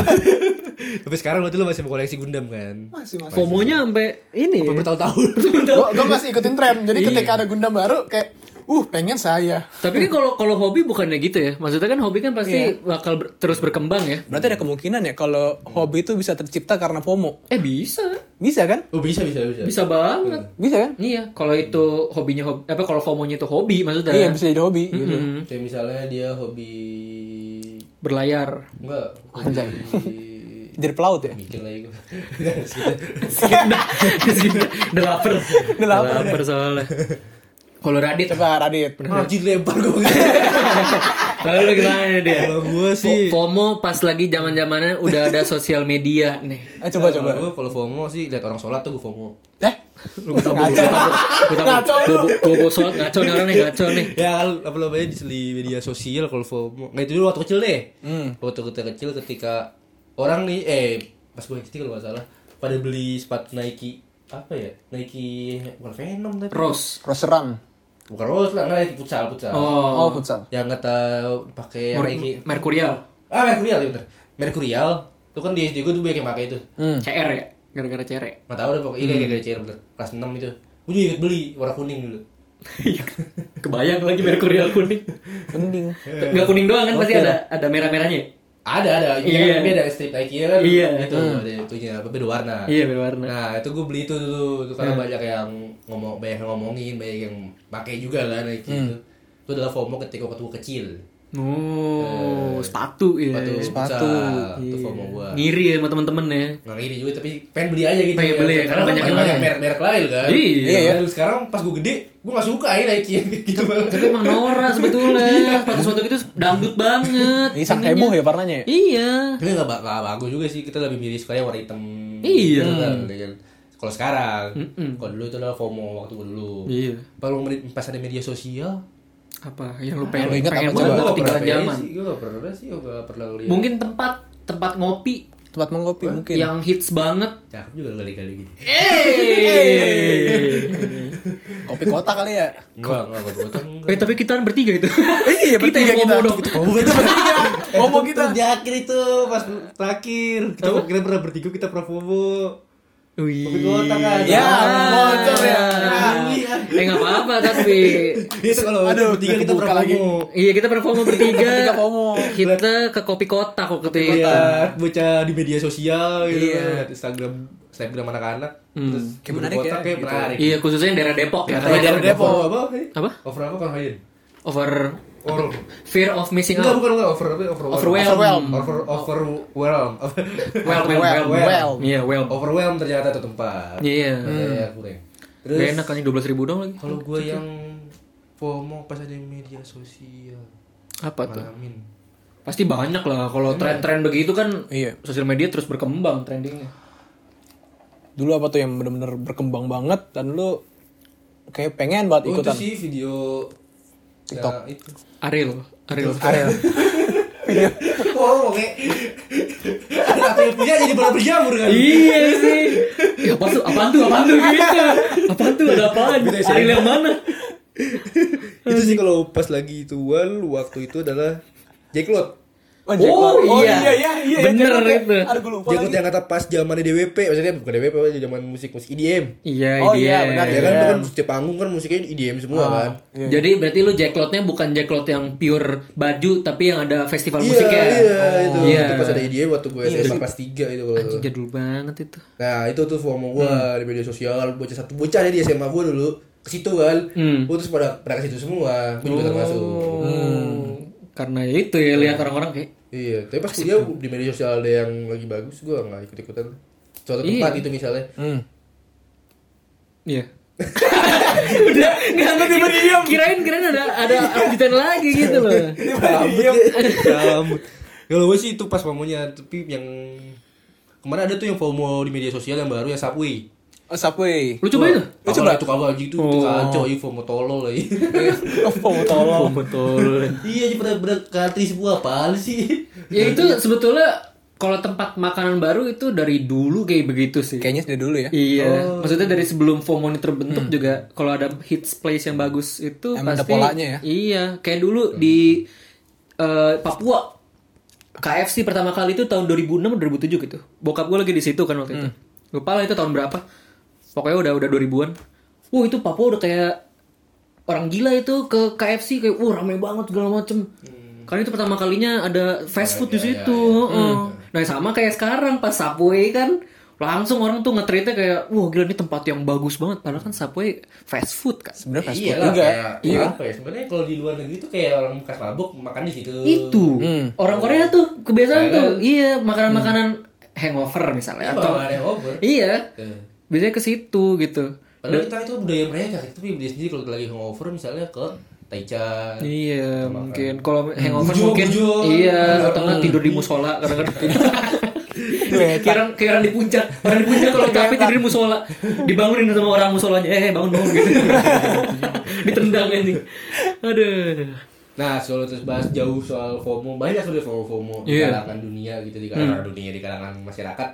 [SPEAKER 1] Sampai sekarang berarti lu masih mengkoleksi Gundam kan?
[SPEAKER 2] Masih masih.
[SPEAKER 3] fomonya sampai ini ya.
[SPEAKER 1] Bertahun-tahun.
[SPEAKER 2] Gua Iya. gua masih ikutin tren. Jadi ketika ada Gundam baru kayak uh pengen saya.
[SPEAKER 3] tapi kan kalau kalau hobi bukannya gitu ya maksudnya kan hobi kan pasti bakal ber- terus berkembang ya
[SPEAKER 2] Berarti ada kemungkinan ya kalau hobi itu bisa tercipta karena FOMO.
[SPEAKER 3] eh bisa
[SPEAKER 2] Bisa kan?
[SPEAKER 1] Oh, bisa bisa bisa.
[SPEAKER 3] bisa banget
[SPEAKER 2] Bisa kan?
[SPEAKER 3] Iya, kalau itu hobinya hobi, apa kalau fomonya itu hobi maksudnya Hmm.
[SPEAKER 2] Iya bisa jadi hobi gitu.
[SPEAKER 1] Kayak misalnya dia hobi
[SPEAKER 3] berlayar. <laughs>
[SPEAKER 1] enggak
[SPEAKER 2] Anjay.
[SPEAKER 1] hobi
[SPEAKER 2] Jadi pelaut ya?
[SPEAKER 1] mikir lagi <laughs> gue.
[SPEAKER 3] Udah lapar. Udah
[SPEAKER 2] lapar.
[SPEAKER 3] soalnya. Kalau Radit
[SPEAKER 2] Coba Radit.
[SPEAKER 1] Anjir lempar gue.
[SPEAKER 3] kalau lu gimana nih dia?
[SPEAKER 1] Kalau gue sih
[SPEAKER 3] FOMO pas lagi zaman-zamannya udah ada sosial media nih.
[SPEAKER 2] Eh, <laughs> coba coba.
[SPEAKER 1] Kalau gua kalau FOMO sih lihat orang sholat tuh gue FOMO.
[SPEAKER 2] Eh? Ngaco. Ngaco lu.
[SPEAKER 3] Gue bosot ngaco nih orang nih ngaco nih.
[SPEAKER 1] ya kan apa namanya di di media sosial kalau FOMO nggak itu dulu waktu kecil deh
[SPEAKER 2] Hmm.
[SPEAKER 1] waktu kita kecil ketika orang nih eh pas gue SD kalau nggak salah pada beli sepatu Nike apa ya Nike bukan Venom tapi
[SPEAKER 3] Rose.
[SPEAKER 2] Roseram.
[SPEAKER 1] bukan Rose lah nggak Nike futsal futsal
[SPEAKER 2] Oh,
[SPEAKER 3] Oh.
[SPEAKER 2] futsal.
[SPEAKER 1] yang kata pakai yang
[SPEAKER 3] Mer-
[SPEAKER 1] Nike
[SPEAKER 3] Mercurial.
[SPEAKER 1] ah Mercurial ya bener Mercurial itu kan di SD gue tuh banyak yang pakai itu
[SPEAKER 3] CR ya, gara-gara CR. ya?
[SPEAKER 1] nggak tahu deh pokoknya iya kayak kayak CR bener kelas 6 itu gue juga ikut beli warna kuning dulu
[SPEAKER 3] Iya. Kebayang lagi Mercurial kuning.
[SPEAKER 2] Mending.
[SPEAKER 3] Enggak kuning doang kan pasti ada ada merah-merahnya. ya?
[SPEAKER 1] ada ada
[SPEAKER 3] Iya.
[SPEAKER 1] iya. beda strip Nike kan
[SPEAKER 3] Iya.
[SPEAKER 1] itu ada itunya apa, beda warna
[SPEAKER 3] Iya, Hmm. berwarna.
[SPEAKER 1] Nah itu gue beli itu dulu Itu karena banyak yang ngomong, banyak yang ngomongin, banyak yang pakai juga lah Nike itu.
[SPEAKER 3] Hmm.
[SPEAKER 1] Itu adalah FOMO ketika waktu gue kecil. Eh,
[SPEAKER 3] Oh, sepatu iya. ya.
[SPEAKER 1] Sepatu,
[SPEAKER 2] sepatu.
[SPEAKER 1] futsal. itu FOMO gue.
[SPEAKER 3] Ngiri ya sama temen-temen ya.
[SPEAKER 1] Nggak ngiri juga tapi pengen beli aja gitu.
[SPEAKER 3] Pengen beli ya, karena banyak yang lain.
[SPEAKER 1] merek, merek lain kan.
[SPEAKER 3] Iya.
[SPEAKER 1] Dan sekarang pas gue gede, gue nggak suka ya Nike yang <laughs> gitu banget.
[SPEAKER 3] Tapi emang Nora <laughs> sebetulnya. Pada sepatu itu dangdut banget.
[SPEAKER 2] Ini sang heboh ya warnanya ya?
[SPEAKER 3] Iya.
[SPEAKER 1] Tapi nggak ba- nggak bagus juga sih kita lebih milih sekolahnya warna hitam.
[SPEAKER 3] Iya.
[SPEAKER 1] Gitu kan, ya kan. Kalau sekarang, kalau dulu itu adalah FOMO waktu gue dulu.
[SPEAKER 3] Iya.
[SPEAKER 1] Kalau meri- pas ada media sosial,
[SPEAKER 3] Apa yang
[SPEAKER 2] Lu
[SPEAKER 3] lu pengen,
[SPEAKER 2] ingat apa
[SPEAKER 3] pengen banget
[SPEAKER 2] coba?
[SPEAKER 3] lu
[SPEAKER 1] Gua nggak
[SPEAKER 3] Eh, ketinggalan
[SPEAKER 1] pernah
[SPEAKER 3] zaman?
[SPEAKER 1] sih, Gue gak pernah sih, gue gak pernah lihat.
[SPEAKER 3] Iya. Mungkin tempat tempat ngopi
[SPEAKER 2] Tempat mengopi mungkin.
[SPEAKER 3] yang hits banget.
[SPEAKER 1] Cakep juga gitu. kali-kali gini.
[SPEAKER 3] Eh,
[SPEAKER 2] Kopi kota kali ya?
[SPEAKER 1] Enggak, enggak, enggak, enggak, enggak.
[SPEAKER 3] Eh tapi kita kan bertiga itu.
[SPEAKER 2] Iya, bertiga
[SPEAKER 3] yang
[SPEAKER 2] kita.
[SPEAKER 3] ngomong dong.
[SPEAKER 1] Oh, Eh, itu bertiga.
[SPEAKER 2] Ngomong kita.
[SPEAKER 1] Terakhir itu pas terakhir. Kita kita pernah bertiga kita pernah fomo.
[SPEAKER 3] Wih.
[SPEAKER 1] Kopi kotak kan.
[SPEAKER 2] Ya, bocor ya.
[SPEAKER 1] Iya.
[SPEAKER 3] Eh nggak apa-apa tapi
[SPEAKER 1] Itu kalau
[SPEAKER 2] Aduh,
[SPEAKER 1] bertiga kita
[SPEAKER 2] kebuka
[SPEAKER 1] pernah
[SPEAKER 2] lagi.
[SPEAKER 1] fomo.
[SPEAKER 3] Iya kita performa bertiga.
[SPEAKER 2] Kita FOMO.
[SPEAKER 3] Kita ke kopi kotak waktu itu.
[SPEAKER 1] Iya, bocah di media sosial gitu
[SPEAKER 2] Iya.
[SPEAKER 1] kan. Instagram Instagram anak-anak. Terus
[SPEAKER 2] Kayak menarik
[SPEAKER 1] kopi kotak
[SPEAKER 2] ya,
[SPEAKER 1] kayak
[SPEAKER 2] gitu.
[SPEAKER 1] menarik.
[SPEAKER 3] Iya khususnya yang daerah Depok ya.
[SPEAKER 1] Kalau dari Depok apa?
[SPEAKER 3] Apa?
[SPEAKER 1] Over apa kan Hayin?
[SPEAKER 3] Over
[SPEAKER 1] Over.
[SPEAKER 3] fear of missing
[SPEAKER 1] Enggak,
[SPEAKER 3] out.
[SPEAKER 1] bukan enggak over apa? Over
[SPEAKER 3] Overwhelm.
[SPEAKER 2] Overwhelm.
[SPEAKER 1] over <laughs> overwhelm Over-
[SPEAKER 3] Well, well, well,
[SPEAKER 2] Well.
[SPEAKER 3] well. Iya, well.
[SPEAKER 1] overwhelm ternyata tuh tempat
[SPEAKER 3] Iya.
[SPEAKER 1] Makanya kurang terus
[SPEAKER 3] Gak enak kan 12 ribu dong lagi.
[SPEAKER 1] kalau gue yang FOMO pas ada media sosial
[SPEAKER 3] Apa tuh?
[SPEAKER 1] ngalamin
[SPEAKER 3] Pasti banyak lah kalau tren-tren begitu kan
[SPEAKER 2] Iya.
[SPEAKER 3] sosial media terus berkembang trendingnya.
[SPEAKER 2] Dulu apa tuh yang bener-bener berkembang banget dan lu kayak pengen banget
[SPEAKER 1] oh itu
[SPEAKER 2] ikutan.
[SPEAKER 1] sih video TikTok itu <laughs>
[SPEAKER 3] Ariel, Ariel.
[SPEAKER 2] Ariel. Video
[SPEAKER 1] bohong Oh, oke apa yang punya jadi bola berjamur kan <laughs>
[SPEAKER 3] Iya sih. Ya, apa tuh? Apaan tuh? Apaan tuh? Gitu. Apaan tuh? Ada apaan?
[SPEAKER 1] Gitu ya, sih.
[SPEAKER 3] Ariel yang mana?
[SPEAKER 1] itu sih kalau pas lagi tuan waktu itu adalah Jack Lot
[SPEAKER 2] Oh, Jack
[SPEAKER 3] Oh,
[SPEAKER 2] Lord. oh
[SPEAKER 3] iya.
[SPEAKER 2] iya iya iya. Jack
[SPEAKER 3] Bener
[SPEAKER 2] Lord.
[SPEAKER 3] itu.
[SPEAKER 2] Aduh, gue lupa
[SPEAKER 1] Jack Lot
[SPEAKER 2] lagi.
[SPEAKER 1] yang kata pas zamannya DWP maksudnya kan, bukan DWP aja zaman musik musik E EDM
[SPEAKER 3] Iya,
[SPEAKER 2] Oh,
[SPEAKER 3] dia.
[SPEAKER 2] iya, benar,
[SPEAKER 1] ya kan itu kan setiap panggung kan musiknya EDM semua
[SPEAKER 3] Ah.
[SPEAKER 1] kan
[SPEAKER 2] Iya.
[SPEAKER 3] Jadi berarti lu jacklotnya bukan jacklot yang pure baju tapi yang ada festival
[SPEAKER 1] Iya,
[SPEAKER 3] musiknya.
[SPEAKER 1] iya itu.
[SPEAKER 3] Iya.
[SPEAKER 1] Itu pas ada EDM waktu gue SMA kelas 3 itu. kalau nggak
[SPEAKER 3] Anjing
[SPEAKER 1] salah.
[SPEAKER 3] jadul banget itu.
[SPEAKER 1] Nah, itu tuh FOMO gue di media sosial, bocah satu bocah dia di SMA gue dulu ke situ kan. Gue terus pada pada ke situ semua, gue juga termasuk.
[SPEAKER 3] Hmm. Karena itu ya lihat orang-orang kayak
[SPEAKER 1] Iya, tapi pas kuliah di media sosial ada yang lagi bagus, gue nggak ikut-ikutan. Suatu tempat itu <laughs> misalnya.
[SPEAKER 2] Hmm.
[SPEAKER 3] Iya. Udah nggak ngerti Kirain kirain ada ada updatean lagi gitu loh.
[SPEAKER 1] Rambut. Kalau gue sih itu pas FOMO-nya, tapi yang kemarin ada tuh yang FOMO di media sosial yang baru yang Subway.
[SPEAKER 2] Oh, Subway.
[SPEAKER 3] Lu coba itu?
[SPEAKER 1] Lu coba itu kagak gitu, itu kacau, itu FOMO tolol lah.
[SPEAKER 2] Oh, mau <laughs> tolong.
[SPEAKER 3] Betul.
[SPEAKER 1] <laughs> Iya, bener-bener katri sebuah apaan sih?
[SPEAKER 3] Ya itu sebetulnya kalau tempat makanan baru itu dari dulu kayak begitu sih.
[SPEAKER 2] Kayaknya sudah dulu ya.
[SPEAKER 3] Iya, maksudnya dari sebelum FOMO ini terbentuk juga kalau ada hits place yang bagus itu
[SPEAKER 2] Emang ada
[SPEAKER 3] pasti
[SPEAKER 2] polanya ya? Hmm.
[SPEAKER 3] Iya, kayak dulu di eh, Papua KFC pertama kali itu tahun 2006 2007 gitu. Bokap gue lagi di situ kan waktu
[SPEAKER 2] Hmm.
[SPEAKER 3] itu. Lupa lah itu tahun berapa. Pokoknya udah udah 2000-an. Wah, itu Papua udah kayak orang gila itu ke KFC kayak wah rame banget segala macem.
[SPEAKER 2] Hmm.
[SPEAKER 3] Karena itu pertama kalinya ada
[SPEAKER 2] Ya,
[SPEAKER 3] fast food di situ. heeh.
[SPEAKER 2] Hmm.
[SPEAKER 3] Nah sama kayak sekarang pas Subway kan langsung orang tuh nge-treatnya kayak wah gila ini tempat yang bagus banget padahal kan Subway fast food kan.
[SPEAKER 2] Sebenarnya fast
[SPEAKER 1] iya
[SPEAKER 2] food
[SPEAKER 1] lah
[SPEAKER 2] juga.
[SPEAKER 1] kayak iya. apa ya sebenarnya kalau di luar negeri tuh kayak orang bekas mabuk makan di situ
[SPEAKER 3] Itu orang Korea tuh kebiasaan tuh iya makanan-makanan hangover misalnya atau
[SPEAKER 1] atau ada over
[SPEAKER 3] iya
[SPEAKER 1] Eh.
[SPEAKER 3] biasanya ke situ gitu.
[SPEAKER 1] padahal kita itu budaya mereka gitu. tapi budaya sendiri kalau lagi hangover misalnya ke Taichan
[SPEAKER 3] Iya mungkin kalau hangover
[SPEAKER 1] Bujo,
[SPEAKER 3] mungkin
[SPEAKER 1] bujo.
[SPEAKER 3] iya atau nggak tidur di musola <laughs> kadang-kadang kirang kirang di puncak orang di puncak kalau capek Iya, tidur di musola dibangunin sama orang musolanya eh bangun bangun <laughs> gitu ditendang ini aduh
[SPEAKER 1] nah soal terus bahas jauh soal FOMO banyak sudah FOMO FOMO di
[SPEAKER 3] Iya.
[SPEAKER 1] kalangan dunia gitu di kalangan dunia di kalangan masyarakat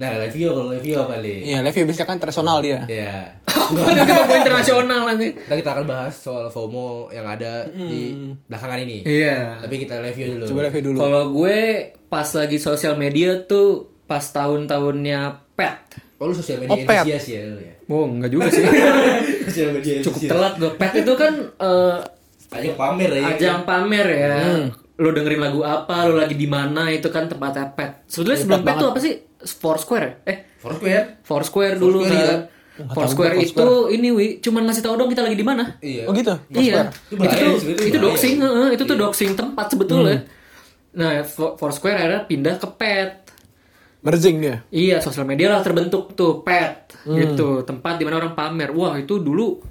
[SPEAKER 1] nah review kalau review apa nih
[SPEAKER 2] Iya, Levi biasanya kan personal dia.
[SPEAKER 1] ya
[SPEAKER 3] Aduh, kita mau internasional nanti
[SPEAKER 1] Ntar kita akan bahas soal FOMO yang ada di belakangan ini
[SPEAKER 3] iya
[SPEAKER 1] tapi kita review dulu
[SPEAKER 2] Coba Levi dulu.
[SPEAKER 3] kalau gue pas lagi sosial media tuh pas tahun-tahunnya pet
[SPEAKER 1] Oh lu sosial media
[SPEAKER 2] Opet.
[SPEAKER 1] enthusiast ya lu ya?
[SPEAKER 3] Oh, enggak juga <laughs> sih.
[SPEAKER 1] Sosial media
[SPEAKER 3] Cukup
[SPEAKER 1] enthusiast.
[SPEAKER 3] telat Iya. gue. Pet itu kan eh,
[SPEAKER 1] Ajang pamer ya.
[SPEAKER 3] ajang pamer ya. Lo dengerin lagu apa, lo lagi di mana, itu kan tempatnya pet. Sebetulnya sebelum pet tuh apa sih? Foursquare ya? Eh,
[SPEAKER 1] Foursquare.
[SPEAKER 3] Foursquare dulu
[SPEAKER 1] Foursquare,
[SPEAKER 3] kan. Foursquare itu ini wi cuman ngasih tahu dong kita lagi di mana.
[SPEAKER 1] Iya.
[SPEAKER 2] Oh gitu.
[SPEAKER 3] Iya.
[SPEAKER 1] Itu
[SPEAKER 3] Itu
[SPEAKER 1] bahaya,
[SPEAKER 3] tuh
[SPEAKER 1] sebetulnya
[SPEAKER 3] itu Iya.
[SPEAKER 1] bahaya.
[SPEAKER 3] doxing, heeh, itu tuh doxing tempat sebetulnya. Nah, Fou- Foursquare akhirnya pindah ke Pet.
[SPEAKER 2] Merging dia.
[SPEAKER 3] Iya, sosial media lah terbentuk tuh Pet gitu, tempat di mana orang pamer. Wah, itu dulu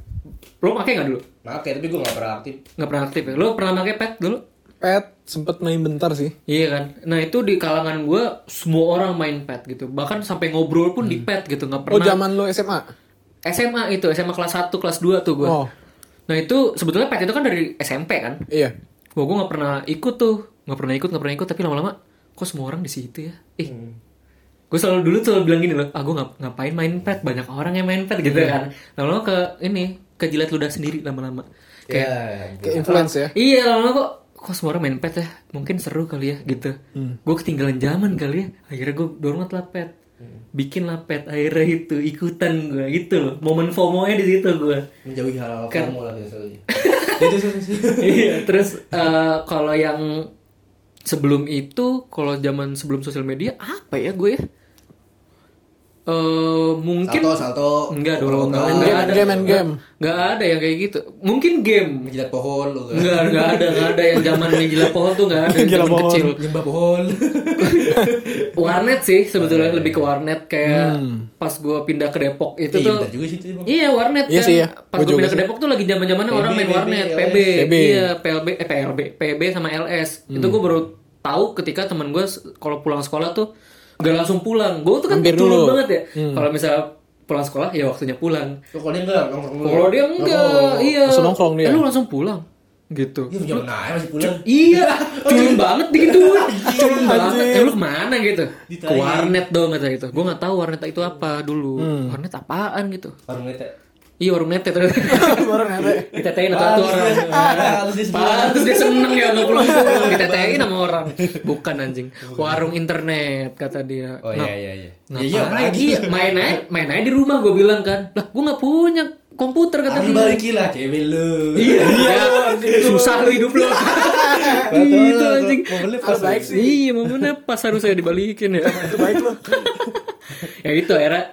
[SPEAKER 3] lo pakai nggak dulu?
[SPEAKER 1] Maaf ya, tapi gue gak pernah aktif.
[SPEAKER 3] Nggak pernah aktif ya? Lo pernah pakai Pet dulu?
[SPEAKER 2] Pet sempet main bentar sih.
[SPEAKER 3] Iya kan. Nah itu di kalangan gue semua orang main pet gitu. Bahkan sampai ngobrol pun di pet gitu nggak
[SPEAKER 2] Oh,
[SPEAKER 3] pernah.
[SPEAKER 2] zaman lu SMA.
[SPEAKER 3] SMA itu SMA kelas 1, kelas 2 tuh gue.
[SPEAKER 2] Oh.
[SPEAKER 3] Nah itu sebetulnya pet itu kan dari SMP kan.
[SPEAKER 2] Iya.
[SPEAKER 3] Wah gue nggak pernah ikut tuh, nggak pernah ikut, nggak pernah ikut. Tapi lama-lama kok semua orang di situ ya. Ih, gue selalu dulu selalu bilang gini loh. Ah gue ngap- ngapain main pet? Banyak orang yang main pet gitu kan. Lama-lama ke ini ke jilat ludah sendiri lama-lama.
[SPEAKER 1] Iya.
[SPEAKER 3] Kayak
[SPEAKER 1] gitu.
[SPEAKER 2] Ke influence ya.
[SPEAKER 3] Iya lama kok kok semua orang main pet ya mungkin seru kali ya gitu gue ketinggalan zaman kali ya akhirnya gue download lah pet bikin lah pet akhirnya itu ikutan gue gitu loh momen FOMO nya di situ gue
[SPEAKER 1] Menjauhi hal-hal formal lah
[SPEAKER 3] <laughs>
[SPEAKER 1] biasanya. Itu sih.
[SPEAKER 3] iya terus eh, kalau yang sebelum itu kalau zaman sebelum sosial media apa ya gue ya Eh, mungkin
[SPEAKER 1] Salto, salto.
[SPEAKER 3] enggak dong
[SPEAKER 1] Overload.
[SPEAKER 3] enggak, enggak
[SPEAKER 2] Game-
[SPEAKER 3] ada
[SPEAKER 2] game and game.
[SPEAKER 3] enggak ada yang kayak gitu mungkin game
[SPEAKER 1] Menjilat pohon lu kan.
[SPEAKER 3] Enggak, enggak ada, enggak ada yang zaman menjilat pohon tuh enggak ada yang
[SPEAKER 2] Gila
[SPEAKER 3] zaman
[SPEAKER 2] pohon.
[SPEAKER 3] kecil.
[SPEAKER 1] Nyembah pohon.
[SPEAKER 3] Warnet sih sebetulnya lebih ke warnet kayak pas gua pindah ke Depok itu
[SPEAKER 1] Iya,
[SPEAKER 3] tuh.
[SPEAKER 1] bener juga sih itu. Bang.
[SPEAKER 3] Iya, warnet
[SPEAKER 2] Iya
[SPEAKER 3] kan.
[SPEAKER 2] sih, ya.
[SPEAKER 3] Pas
[SPEAKER 2] Gua
[SPEAKER 3] gua
[SPEAKER 2] juga
[SPEAKER 3] pindah ke Depok tuh lagi zaman-zamannya orang main
[SPEAKER 1] PB,
[SPEAKER 3] warnet, PB.
[SPEAKER 2] PB.
[SPEAKER 3] Iya, PLB, eh PLB, PB sama LS. Itu
[SPEAKER 2] Hmm.
[SPEAKER 3] gua baru tahu ketika teman gua s- kalau pulang sekolah tuh gak langsung pulang. Gua tuh kan
[SPEAKER 2] Hampir
[SPEAKER 3] tulur
[SPEAKER 2] dulu. Hmm.
[SPEAKER 3] banget ya. Kalau misalnya pulang sekolah ya waktunya pulang.
[SPEAKER 1] Tuh, Kalau dia enggak, nongkrong dulu.
[SPEAKER 3] Kalau dia enggak, iya.
[SPEAKER 2] Oh. Langsung nongkrong dia.
[SPEAKER 3] Eh, lu langsung pulang. gitu.
[SPEAKER 1] Iya punya mana ya, masih pulang.
[SPEAKER 3] <laughs> Iya, culun banget gitu. Culun banget.
[SPEAKER 2] Anjir.
[SPEAKER 3] Eh, lu kemana gitu?
[SPEAKER 1] Ditanya.
[SPEAKER 3] Ke warnet dong kata itu. Gue nggak tahu warnet itu apa dulu.
[SPEAKER 2] Hmm.
[SPEAKER 3] Warnet apaan gitu?
[SPEAKER 1] Warung nete.
[SPEAKER 3] Iya warung nete terus. <laughs>
[SPEAKER 2] Baru nete.
[SPEAKER 3] Ditetein satu satu orang.
[SPEAKER 1] Harus dia sebelah.
[SPEAKER 3] Pantes dia seneng
[SPEAKER 1] <laughs>
[SPEAKER 3] ya nggak pulang pulang ditetein sama orang. Bukan anjing. Warung internet kata dia.
[SPEAKER 1] Oh
[SPEAKER 3] Nah,
[SPEAKER 1] iya iya iya.
[SPEAKER 3] Nah,
[SPEAKER 1] Iya iya lagi.
[SPEAKER 3] lagi main aja, main aja di rumah gue bilang kan. Lah, gue nggak punya komputer kata
[SPEAKER 1] Tapi
[SPEAKER 3] dia.
[SPEAKER 1] balikin lah cewek lu.
[SPEAKER 3] Iya, susah lu hidup lu. gitu anjing.
[SPEAKER 1] Mau beli pas
[SPEAKER 2] baik sih.
[SPEAKER 3] Iya, momennya pas harus saya dibalikin ya.
[SPEAKER 2] Itu baik lu.
[SPEAKER 3] ya itu akhirnya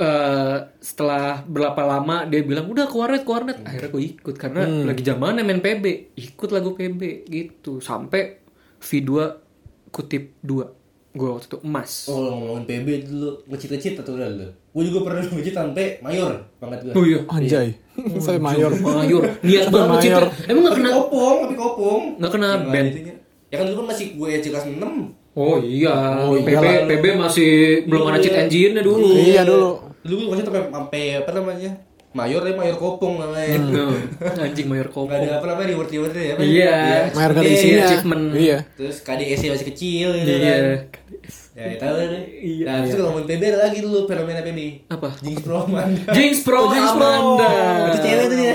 [SPEAKER 3] eh, setelah berapa lama dia bilang udah ke warnet ke warnet akhirnya gue ikut karena lagi zamannya main PB ikut lagu PB gitu sampai V2 kutip 2 gue waktu itu emas
[SPEAKER 1] Oh lu ngomongin PB dulu ngecit-ngecit atau udah lu? Gue juga pernah ngecit sampai mayor pangkat gue.
[SPEAKER 3] iya
[SPEAKER 2] Oh, Anjay. Saya mayor.
[SPEAKER 3] mayor Oh, niat
[SPEAKER 2] Sampai
[SPEAKER 3] banget Cit.
[SPEAKER 2] mayor.
[SPEAKER 3] emang gak
[SPEAKER 1] Tapi
[SPEAKER 3] kena
[SPEAKER 1] kopong, tapi kopong.
[SPEAKER 3] Nggak kena
[SPEAKER 1] Yang
[SPEAKER 3] band.
[SPEAKER 1] lain itu ya. Ya kan dulu kan masih gue aja kelas 6
[SPEAKER 3] oh iya PB
[SPEAKER 2] iyalah.
[SPEAKER 3] PB masih belum ada cheat engine-nya dulu
[SPEAKER 2] Iya dulu.
[SPEAKER 1] Dulu gue kelasnya sampai sampai apa namanya? Mayor ya mayor kopong namanya.
[SPEAKER 3] Nah, anjing mayor
[SPEAKER 1] Gak
[SPEAKER 3] kopong
[SPEAKER 1] ada apa namanya reward-rewardnya ya. apa ya?
[SPEAKER 3] Iya.
[SPEAKER 2] Mayor kan gak ada
[SPEAKER 1] Iya,
[SPEAKER 2] isinya.
[SPEAKER 3] achievement.
[SPEAKER 2] Iya.
[SPEAKER 1] Terus KDS -nya masih kecil gitu kan.
[SPEAKER 3] iya
[SPEAKER 1] Ya, ya tahu kan.
[SPEAKER 3] Iya.
[SPEAKER 1] Nah, terus kalau ngomongin PB ada lagi dulu fenomena PB.
[SPEAKER 3] Apa?
[SPEAKER 1] Jinx Proman.
[SPEAKER 3] Jinx
[SPEAKER 2] Oh,
[SPEAKER 3] Pro Amanda
[SPEAKER 1] Itu cewek tuh dia.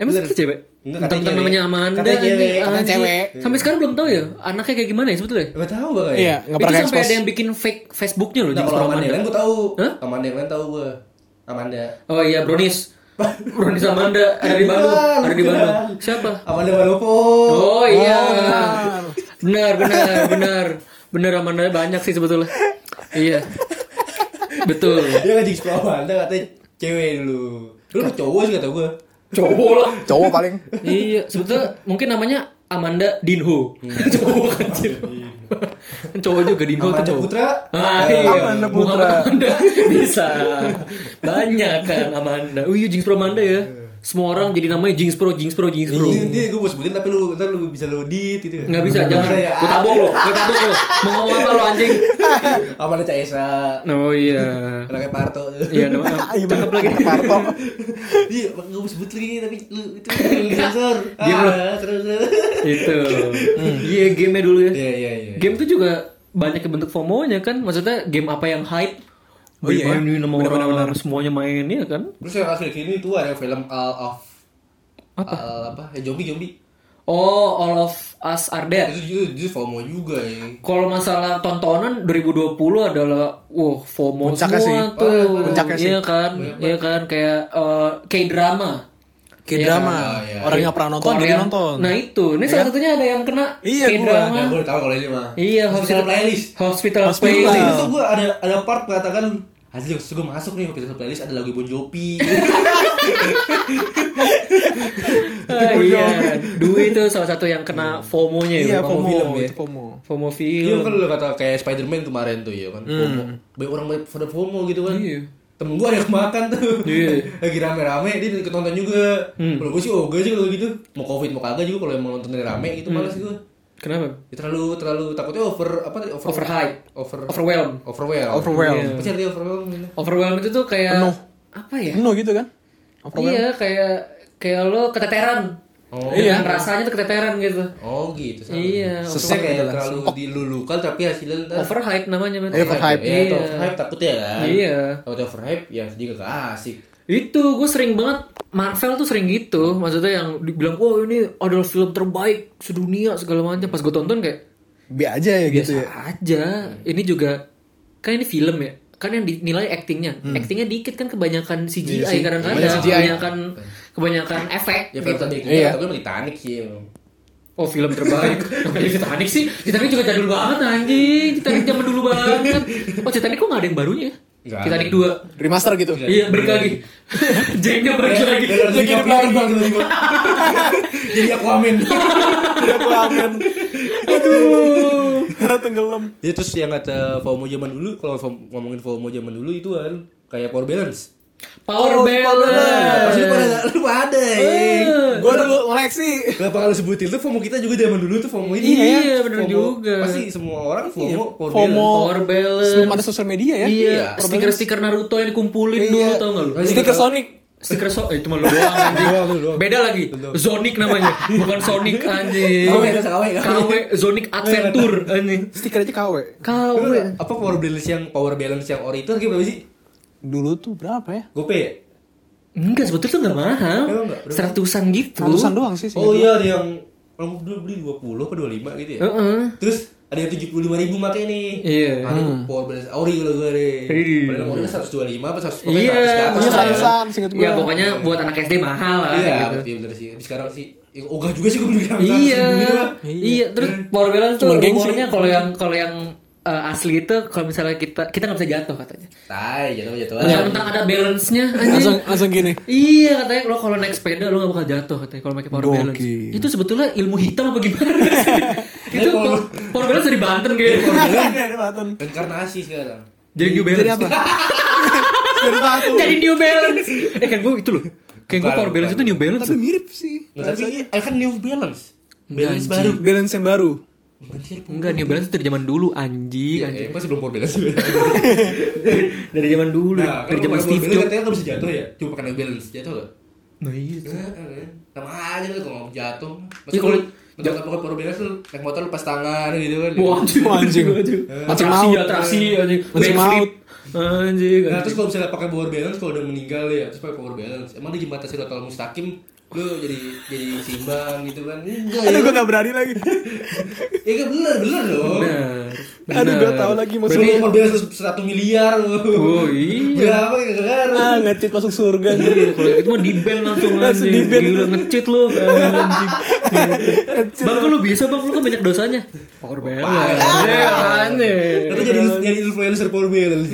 [SPEAKER 3] Emang sih cewek?
[SPEAKER 1] Enggak,
[SPEAKER 3] Enggak,
[SPEAKER 1] katanya
[SPEAKER 3] katanya namanya
[SPEAKER 1] cewek.
[SPEAKER 3] Amanda
[SPEAKER 1] Katanya cewek,
[SPEAKER 3] anjing.
[SPEAKER 1] katanya
[SPEAKER 3] Anjing.
[SPEAKER 2] cewek.
[SPEAKER 3] Sampai sekarang belum tahu ya Anaknya kayak gimana ya sebetulnya
[SPEAKER 1] Gak tahu bakal
[SPEAKER 2] Iya,
[SPEAKER 1] ya.
[SPEAKER 2] nggak
[SPEAKER 3] Itu
[SPEAKER 2] pernah
[SPEAKER 3] sampai
[SPEAKER 2] expose.
[SPEAKER 3] ada yang bikin fake Facebooknya loh
[SPEAKER 1] Nah,
[SPEAKER 3] Jinx
[SPEAKER 1] kalau
[SPEAKER 3] Pro
[SPEAKER 1] Amanda
[SPEAKER 3] Amanda
[SPEAKER 1] yang lain gue tahu.
[SPEAKER 3] Hah?
[SPEAKER 1] Amanda yang lain tahu gue. Amanda.
[SPEAKER 3] Oh iya Bronis Bronis Amanda Ada di Bandung
[SPEAKER 1] Bukan,
[SPEAKER 3] Ada di
[SPEAKER 1] bukan.
[SPEAKER 3] Bandung Siapa?
[SPEAKER 1] Amanda Malopo.
[SPEAKER 3] Oh iya Benar benar benar Benar Amanda banyak sih sebetulnya Iya Betul
[SPEAKER 1] Dia kan Jinx Pro Amanda katanya cewek dulu. Dulu cowok sih kata gue.
[SPEAKER 3] Cowok lah
[SPEAKER 2] Cowok paling.
[SPEAKER 3] Iya sebetulnya mungkin namanya Amanda Dinho <laughs> Cowok kecil Hmm. Iya. Cowok juga Dinho tuh
[SPEAKER 1] Amanda
[SPEAKER 3] cowok
[SPEAKER 1] Putra.
[SPEAKER 3] Ah,
[SPEAKER 1] Eh,
[SPEAKER 3] iya.
[SPEAKER 2] Amanda Putra.
[SPEAKER 3] Muhammad Amanda bisa. Banyak kan Amanda. Wih, Jinx Pro Amanda ya. Semua orang jadi namanya Jinx Pro, Jinx Pro, Jinx Pro.
[SPEAKER 1] Ini dia gue mau sebutin tapi lu ntar lu bisa lu edit gitu.
[SPEAKER 3] Nggak bisa, jangan.
[SPEAKER 1] ya.
[SPEAKER 3] Gue tabok lo, gue tabok lo. Mau ngomong apa lo anjing?
[SPEAKER 1] "Ah, Amanda Caesa.
[SPEAKER 3] Oh iya.
[SPEAKER 1] Anaknya Parto.
[SPEAKER 3] Iya, namanya. Cakep lagi.
[SPEAKER 2] Parto.
[SPEAKER 1] <laughs> Iya, gue mau sebut lagi tapi lu itu kan
[SPEAKER 3] <laughs>
[SPEAKER 1] sensor.
[SPEAKER 3] Diam lu.
[SPEAKER 1] Ah, terus terus.
[SPEAKER 3] Itu. Iya, gamenya dulu ya.
[SPEAKER 1] Iya iya iya.
[SPEAKER 3] Game tuh juga banyak bentuk FOMO-nya kan. Maksudnya game apa yang hype.
[SPEAKER 2] Oh iya, ya.
[SPEAKER 3] Dimainin sama orang, semuanya main ya kan.
[SPEAKER 1] Terus yang akhir ini tuh ada film All of apa? apa? Ya, zombie zombie.
[SPEAKER 3] Oh, All of Us Are Dead.
[SPEAKER 1] Itu juga itu FOMO juga ya.
[SPEAKER 3] Kalau masalah tontonan 2020 adalah wow FOMO
[SPEAKER 2] Puncaknya
[SPEAKER 3] semua
[SPEAKER 2] sih.
[SPEAKER 3] tuh.
[SPEAKER 1] Oh,
[SPEAKER 2] puncaknya
[SPEAKER 3] iya kan? Iya kan kayak eh, K-drama.
[SPEAKER 2] Kayak drama.
[SPEAKER 1] iya.
[SPEAKER 2] Orang yang pernah nonton jadi
[SPEAKER 3] Korea.
[SPEAKER 2] nonton.
[SPEAKER 3] Nah, itu. Ini salah satunya ada yang kena
[SPEAKER 2] Iya,
[SPEAKER 3] K-drama.
[SPEAKER 1] Nah, gue udah tahu kalau ini mah.
[SPEAKER 3] Iya,
[SPEAKER 1] hospital playlist.
[SPEAKER 3] Hospital,
[SPEAKER 2] Hospital.
[SPEAKER 1] Nah,
[SPEAKER 3] Playlist. Iya.
[SPEAKER 1] itu
[SPEAKER 2] <laughs>
[SPEAKER 1] tuh gue ada ada part mengatakan Hasil gue masuk nih hospital playlist ada lagu Bon
[SPEAKER 3] <laughs>
[SPEAKER 1] Jovi.
[SPEAKER 3] Ah, iya. Dwi itu salah satu yang kena FOMO-nya ya.
[SPEAKER 2] Iya,
[SPEAKER 1] FOMO
[SPEAKER 2] FOMO.
[SPEAKER 1] film ya.
[SPEAKER 2] itu FOMO.
[SPEAKER 3] FOMO
[SPEAKER 1] Iya kan
[SPEAKER 3] film.
[SPEAKER 1] lu kata kayak Spider-Man kemarin tuh ya kan. FOMO. Banyak orang banyak pada FOMO gitu kan.
[SPEAKER 3] Hmm. Iya.
[SPEAKER 1] Temen gue ada yang makan tuh.
[SPEAKER 3] Iya.
[SPEAKER 1] <laughs>
[SPEAKER 3] Hmm.
[SPEAKER 1] Lagi rame-rame dia ikut nonton juga. Kalau gue sih oke sih kalau gitu. Mau Covid mau kagak juga kalau emang nonton dari rame gitu
[SPEAKER 3] Hmm.
[SPEAKER 1] malas gue.
[SPEAKER 3] Kenapa?
[SPEAKER 1] Ya, terlalu terlalu takutnya over apa tadi over
[SPEAKER 3] Overhype.
[SPEAKER 1] over
[SPEAKER 3] Overwhelm.
[SPEAKER 1] overwhelm.
[SPEAKER 2] Overwhelm.
[SPEAKER 1] Pasti artinya overwhelm gitu.
[SPEAKER 3] Overwhelm itu tuh kayak
[SPEAKER 2] Penuh.
[SPEAKER 3] apa ya?
[SPEAKER 2] Penuh gitu kan? Overwhelm.
[SPEAKER 3] Iya, kayak kayak lo keteteran.
[SPEAKER 1] Oh.
[SPEAKER 3] iya. Rasanya tuh keteteran gitu.
[SPEAKER 1] Oh gitu. sama.
[SPEAKER 3] Iya,
[SPEAKER 1] Maksudnya kayak terlalu dilulukan tapi hasilnya ntar
[SPEAKER 3] Overhype namanya men.
[SPEAKER 2] Iya, overhype.
[SPEAKER 1] Ya, itu
[SPEAKER 3] Iya.
[SPEAKER 1] overhype takutnya kan.
[SPEAKER 3] Iya.
[SPEAKER 1] Kalau dia overhype ya juga gak asik.
[SPEAKER 3] Itu gue sering banget Marvel tuh sering gitu. Maksudnya yang dibilang, "Wah, ini adalah film terbaik sedunia segala macam." Pas gue tonton kayak
[SPEAKER 2] Bi aja ya gitu ya.
[SPEAKER 3] aja. Ini juga kan ini film ya. Kan yang dinilai actingnya,
[SPEAKER 2] Hmm.
[SPEAKER 3] actingnya dikit kan kebanyakan
[SPEAKER 2] Iya
[SPEAKER 3] CGI kadang-kadang, kebanyakan kebanyakan efek.
[SPEAKER 1] Ya film tadi
[SPEAKER 2] Iya.
[SPEAKER 1] tapi emang Titanic sih. emang.
[SPEAKER 3] Oh film terbaik Namanya Titanic sih Titanic juga jadul banget anjing Titanic zaman dulu banget Oh Titanic kok gak ada yang barunya ya?
[SPEAKER 1] Nggak
[SPEAKER 3] Titanic
[SPEAKER 1] ada.
[SPEAKER 3] 2
[SPEAKER 2] Remaster gitu.
[SPEAKER 3] Iya balik lagi <laughs> Jengnya balik lagi
[SPEAKER 1] Lagi hidup lagi gitu, gitu. <laughs> Jadi <laughs> Aquaman.
[SPEAKER 2] Udah kelamin. Iya, Aduh. Karena tenggelam.
[SPEAKER 1] Ya terus yang kata FOMO zaman dulu kalau FOMO- ngomongin FOMO zaman dulu itu kan kayak power balance. Nah,
[SPEAKER 3] Power Balance
[SPEAKER 1] Pasti lu pada lu pada. eh.
[SPEAKER 2] Gue dulu ngoleksi.
[SPEAKER 1] Kenapa kalau sebutin tuh FOMO kita juga zaman dulu tuh FOMO ini
[SPEAKER 3] Iya,
[SPEAKER 1] ya. FOMO.
[SPEAKER 3] bener juga.
[SPEAKER 1] Pasti semua orang Iya, FOMO, power
[SPEAKER 2] FOMO.
[SPEAKER 1] balance.
[SPEAKER 3] Power Balance
[SPEAKER 2] Sebelum ada sosial media ya.
[SPEAKER 3] Iya stiker-stiker Naruto yang dikumpulin dulu tau gak lu
[SPEAKER 2] Stiker Sonic.
[SPEAKER 3] Stiker so eh cuma lu doang anjing.
[SPEAKER 1] Doang, lu doang.
[SPEAKER 3] Beda lagi. Zonic namanya, bukan Sonic anjing.
[SPEAKER 1] KW, KW, KW.
[SPEAKER 3] KW Zonic Adventure anjing.
[SPEAKER 2] Stiker aja KW.
[SPEAKER 1] Lu
[SPEAKER 3] KW.
[SPEAKER 1] apa power balance yang power balance yang ori itu harga berapa sih?
[SPEAKER 2] Dulu tuh berapa ya?
[SPEAKER 1] Gopay ya?
[SPEAKER 3] Enggak sebetulnya tuh enggak mahal.
[SPEAKER 1] Emang nggak? Berapa?
[SPEAKER 3] Seratusan gitu.
[SPEAKER 2] Ratusan doang sih.
[SPEAKER 1] Oh
[SPEAKER 2] seingat
[SPEAKER 1] iya ada yang kalau dulu beli 20 apa 25 gitu ya.
[SPEAKER 3] Heeh.
[SPEAKER 1] Terus ada yang 75 ribu pakai nih.
[SPEAKER 3] Iya.
[SPEAKER 1] Ada yang power balance ori kalau gue deh.
[SPEAKER 3] Iya.
[SPEAKER 1] Padahal ori kan 125 apa 100 pokoknya
[SPEAKER 3] Iya,
[SPEAKER 1] 100 ke atas
[SPEAKER 2] Iya,
[SPEAKER 1] lah ya.
[SPEAKER 2] seratusan, seingat gue.
[SPEAKER 3] Ya pokoknya buat anak SD mahal lah
[SPEAKER 1] Iya,
[SPEAKER 3] gitu.
[SPEAKER 1] betul bener sih. Tapi sekarang sih ya, ogah juga sih gitu gue beli bilang
[SPEAKER 3] Iya. Iya, terus power balance tuh
[SPEAKER 2] Cuma gengsi.
[SPEAKER 3] rumornya kalau yang kalau yang eh, asli itu kalau misalnya kita kita nggak bisa jatuh katanya.
[SPEAKER 1] Tai, jatuh jatuh.
[SPEAKER 3] Yang tentang ada balance-nya
[SPEAKER 2] Langsung eh.
[SPEAKER 3] anjing.
[SPEAKER 2] langsung gini.
[SPEAKER 3] Iya katanya lo kalau naik sepeda lo gak bakal jatuh katanya kalau pakai power
[SPEAKER 2] Gokil.
[SPEAKER 3] balance. Itu sebetulnya ilmu hitam apa gimana sih? <laughs> itu power, power balance dari Banten kayaknya.
[SPEAKER 2] Ada button.
[SPEAKER 1] Reinkarnasi sekarang. Nah,
[SPEAKER 3] Jadi New Balance.
[SPEAKER 2] Iya. Jadi apa? Dari batu.
[SPEAKER 3] <laughs> Jadi New Balance. Eh kan gue itu loh. Kayak gue
[SPEAKER 1] Bukan,
[SPEAKER 3] power balance itu
[SPEAKER 1] bukan.
[SPEAKER 3] New Balance.
[SPEAKER 2] Tapi mirip sih.
[SPEAKER 1] Nggak, tapi eh, kan New Balance. Balance
[SPEAKER 3] Anjing.
[SPEAKER 1] baru.
[SPEAKER 2] Balance yang baru.
[SPEAKER 1] Anjir.
[SPEAKER 3] Enggak New Balance itu dari zaman dulu anjing. Iya, anjing.
[SPEAKER 1] Eh, pas sebelum power balance.
[SPEAKER 3] <laughs> Dari zaman dulu,
[SPEAKER 1] Nah,
[SPEAKER 3] dari
[SPEAKER 1] kan
[SPEAKER 3] zaman
[SPEAKER 1] kalau
[SPEAKER 3] Steve
[SPEAKER 1] Steve
[SPEAKER 3] Jobs.
[SPEAKER 1] katanya nggak bisa jatuh ya. Cuma pakai New Balance jatuh loh.
[SPEAKER 3] Nah iya.
[SPEAKER 1] Heeh. Sama aja lu kalau ngomong jatuh. Masa
[SPEAKER 3] Ya,
[SPEAKER 1] kalau
[SPEAKER 3] kalau-
[SPEAKER 1] jatuh pakai power balance lu naik motor lepas tangan gitu kan.
[SPEAKER 3] Wah anjing.
[SPEAKER 2] Wah, anjing. Anjing
[SPEAKER 3] Atraksi
[SPEAKER 2] maut.
[SPEAKER 3] ya, atraksi anjing.
[SPEAKER 2] Anjing
[SPEAKER 3] Backflip.
[SPEAKER 2] maut.
[SPEAKER 3] Anjing.
[SPEAKER 1] Nah,
[SPEAKER 3] anjing.
[SPEAKER 1] terus kalau misalnya pakai power balance kalau udah meninggal ya, terus pakai power balance. Emang dia jembatan sirotol mustaqim lu jadi jadi simbang gitu kan. Enggak.
[SPEAKER 2] Aduh
[SPEAKER 1] Ya,
[SPEAKER 2] gue gak berani lagi.
[SPEAKER 1] ya kan bener bener loh.
[SPEAKER 3] Benar.
[SPEAKER 2] Aduh
[SPEAKER 3] Benar.
[SPEAKER 2] gue tau lagi
[SPEAKER 1] Berarti
[SPEAKER 2] maksudnya.
[SPEAKER 1] power balance 100 miliar lu.
[SPEAKER 3] Oh iya.
[SPEAKER 1] Berapa ya kan?
[SPEAKER 2] Ah ngecit masuk surga.
[SPEAKER 3] Kalau gitu mah di ban langsung
[SPEAKER 2] Langsung
[SPEAKER 3] anjing.
[SPEAKER 2] di-ban.
[SPEAKER 3] Gila ngecit lu. Anjing. Bang kok lu bisa bang lu kan banyak dosanya. Power balance. Aneh,
[SPEAKER 1] Itu jadi jadi influencer power
[SPEAKER 3] <laughs>
[SPEAKER 1] balance.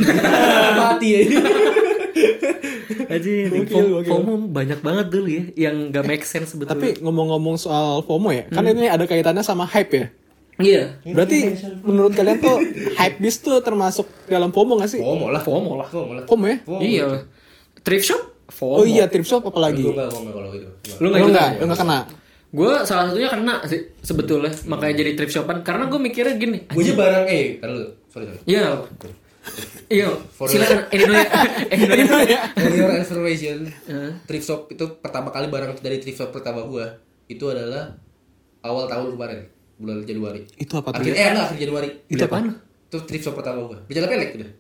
[SPEAKER 1] Mati ya.
[SPEAKER 3] Anjing.
[SPEAKER 2] Gokil,
[SPEAKER 3] FOMO-
[SPEAKER 2] gokil.
[SPEAKER 3] FOMO banyak banget dulu ya yang gak make sense sebetulnya.
[SPEAKER 2] Tapi ngomong-ngomong soal FOMO ya, kan ini ada kaitannya sama hype ya.
[SPEAKER 3] iya.
[SPEAKER 2] Berarti menurut kalian tuh hype bis tuh termasuk dalam FOMO gak sih?
[SPEAKER 1] FOMO lah.
[SPEAKER 3] FOMO lah.
[SPEAKER 1] FOMO lah.
[SPEAKER 2] FOMO ya?
[SPEAKER 1] FOMO.
[SPEAKER 3] Iya. Thrift shop? FOMO.
[SPEAKER 2] Oh iya, trip shop apalagi.
[SPEAKER 1] Gue nggak FOMO kalau gitu. Nggak.
[SPEAKER 3] Lu
[SPEAKER 2] Lu
[SPEAKER 3] nggak ikut?
[SPEAKER 2] enggak, lu enggak <laughs> kena.
[SPEAKER 3] Gue salah satunya kena sih sebetulnya makanya jadi thrift shopan karena gue mikirnya gini.
[SPEAKER 1] Gue aja barang eh, tar dulu. Sorry,
[SPEAKER 2] <laughs>
[SPEAKER 1] sorry.
[SPEAKER 3] Iya. Iya,
[SPEAKER 1] For-
[SPEAKER 3] silakan ini <laughs> dulu ya. Ini dulu ya.
[SPEAKER 1] For your information, thrift shop itu pertama kali barang dari thrift shop pertama gua itu adalah awal tahun kemarin, bulan Januari.
[SPEAKER 2] Itu apa tuh?
[SPEAKER 1] Akhir eh enggak akhir Januari.
[SPEAKER 3] Itu apaan?
[SPEAKER 1] Itu thrift shop pertama gua. Bicara pelek udah.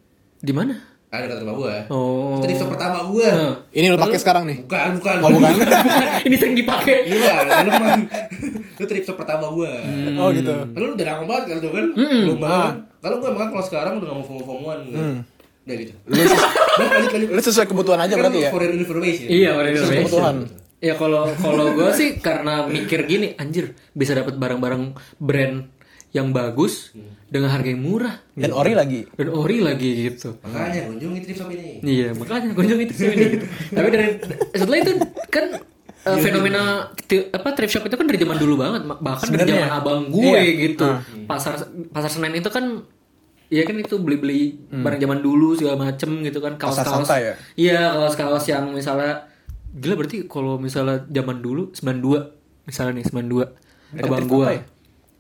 [SPEAKER 3] Di mana?
[SPEAKER 1] Ada kata rumah gua.
[SPEAKER 3] Oh.
[SPEAKER 1] Thrift shop pertama gua. Eh,
[SPEAKER 2] Ini lu pakai sekarang nih.
[SPEAKER 1] Bukan, bukan. Iya,
[SPEAKER 2] Oh,
[SPEAKER 1] <laughs>
[SPEAKER 2] <laughs> bukan.
[SPEAKER 3] <laughs> ini sering dipakai.
[SPEAKER 1] Bukan, lu mah. Itu thrift shop pertama gua.
[SPEAKER 2] Oh gitu.
[SPEAKER 1] Kalau lu udah lama banget kan, tuh kan?
[SPEAKER 2] Hmm.
[SPEAKER 1] Belum banget. Kalau gua makan kalau sekarang udah gak mau fomo-fomoan gua. Udah gitu. Lanjut, lanjut, lanjut.
[SPEAKER 2] Lu sesuai kebutuhan aja berarti ya.
[SPEAKER 1] For your information.
[SPEAKER 3] Iya, for your
[SPEAKER 1] Sesuai
[SPEAKER 3] information.
[SPEAKER 2] Kebutuhan.
[SPEAKER 3] Ya kalau kalau gue sih karena mikir gini, anjir bisa dapat barang-barang brand yang bagus dengan harga yang murah
[SPEAKER 2] Dan ori lagi.
[SPEAKER 3] dan ori lagi gitu.
[SPEAKER 1] Makanya kunjungi thrift shop ini.
[SPEAKER 3] Iya, makanya kunjungi itu sini. gitu. Tapi dari setelah itu kan eh,
[SPEAKER 2] Iya.
[SPEAKER 3] fenomena ti- apa thrift shop itu kan dari zaman dulu banget, ma- bahkan dari
[SPEAKER 2] Sebenarnya.
[SPEAKER 3] zaman abang gue
[SPEAKER 2] Iya.
[SPEAKER 3] gitu. Pasar pasar Senen itu kan Iya kan itu beli-beli barang zaman dulu segala macem gitu kan
[SPEAKER 2] Hmm. Pasar
[SPEAKER 3] kaos-kaos.
[SPEAKER 2] santai ya?
[SPEAKER 3] Iya, kaos-kaos yang misalnya gila berarti kalau misalnya zaman dulu 92 misalnya nih 92 abang
[SPEAKER 2] thrift
[SPEAKER 3] gua.
[SPEAKER 2] apa ya?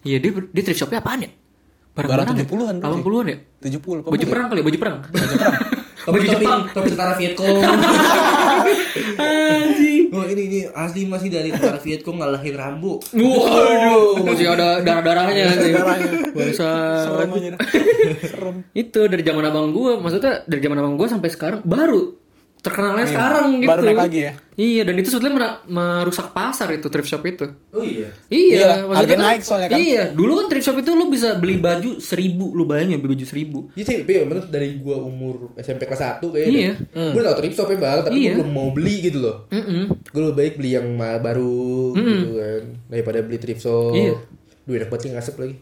[SPEAKER 3] Iya, dia ber- dia thrift shopnya apaan ya? Barang-barang
[SPEAKER 2] Barang
[SPEAKER 3] ya?
[SPEAKER 2] 70-an berarti.
[SPEAKER 3] 80-an ya?
[SPEAKER 2] 70 apa
[SPEAKER 3] Baju perang kali, ya, baju perang. Baju perang.
[SPEAKER 1] Topi topi
[SPEAKER 3] Jepang.
[SPEAKER 1] topi tentara
[SPEAKER 3] <laughs>
[SPEAKER 1] Vietcong.
[SPEAKER 3] Anjing.
[SPEAKER 1] Oh ini ini asli masih dari tentara Vietcong ngalahin Rambo.
[SPEAKER 3] Waduh, masih ada darah-darahnya sih.
[SPEAKER 2] darahnya.
[SPEAKER 3] Bangsa.
[SPEAKER 2] Serem aja dah. <laughs> Serem.
[SPEAKER 3] Itu dari zaman abang gua, maksudnya dari zaman abang gua sampai sekarang baru terkenalnya sekarang
[SPEAKER 2] Iya.
[SPEAKER 3] gitu.
[SPEAKER 2] baru naik lagi ya?
[SPEAKER 3] Iya, dan itu sebetulnya mera- merusak pasar itu thrift shop itu.
[SPEAKER 1] Oh iya.
[SPEAKER 3] Iya,
[SPEAKER 2] Iya,
[SPEAKER 3] maksudnya
[SPEAKER 2] harga naik soalnya kan.
[SPEAKER 3] Iya, dulu kan thrift shop itu lu bisa beli baju seribu, lu bayangin ya, beli baju seribu.
[SPEAKER 1] Iya sih, tapi bener dari gua umur SMP kelas 1 kayaknya.
[SPEAKER 3] Iya.
[SPEAKER 1] deh. Gua tau thrift shop ya bang, tapi
[SPEAKER 3] Iya.
[SPEAKER 1] gua belum mau beli gitu loh.
[SPEAKER 3] Mm-mm.
[SPEAKER 1] Gua lebih baik beli yang ma- baru gitu kan daripada beli thrift shop.
[SPEAKER 3] Hmm. Iya.
[SPEAKER 1] Duh enak banget sih, ngasep lagi.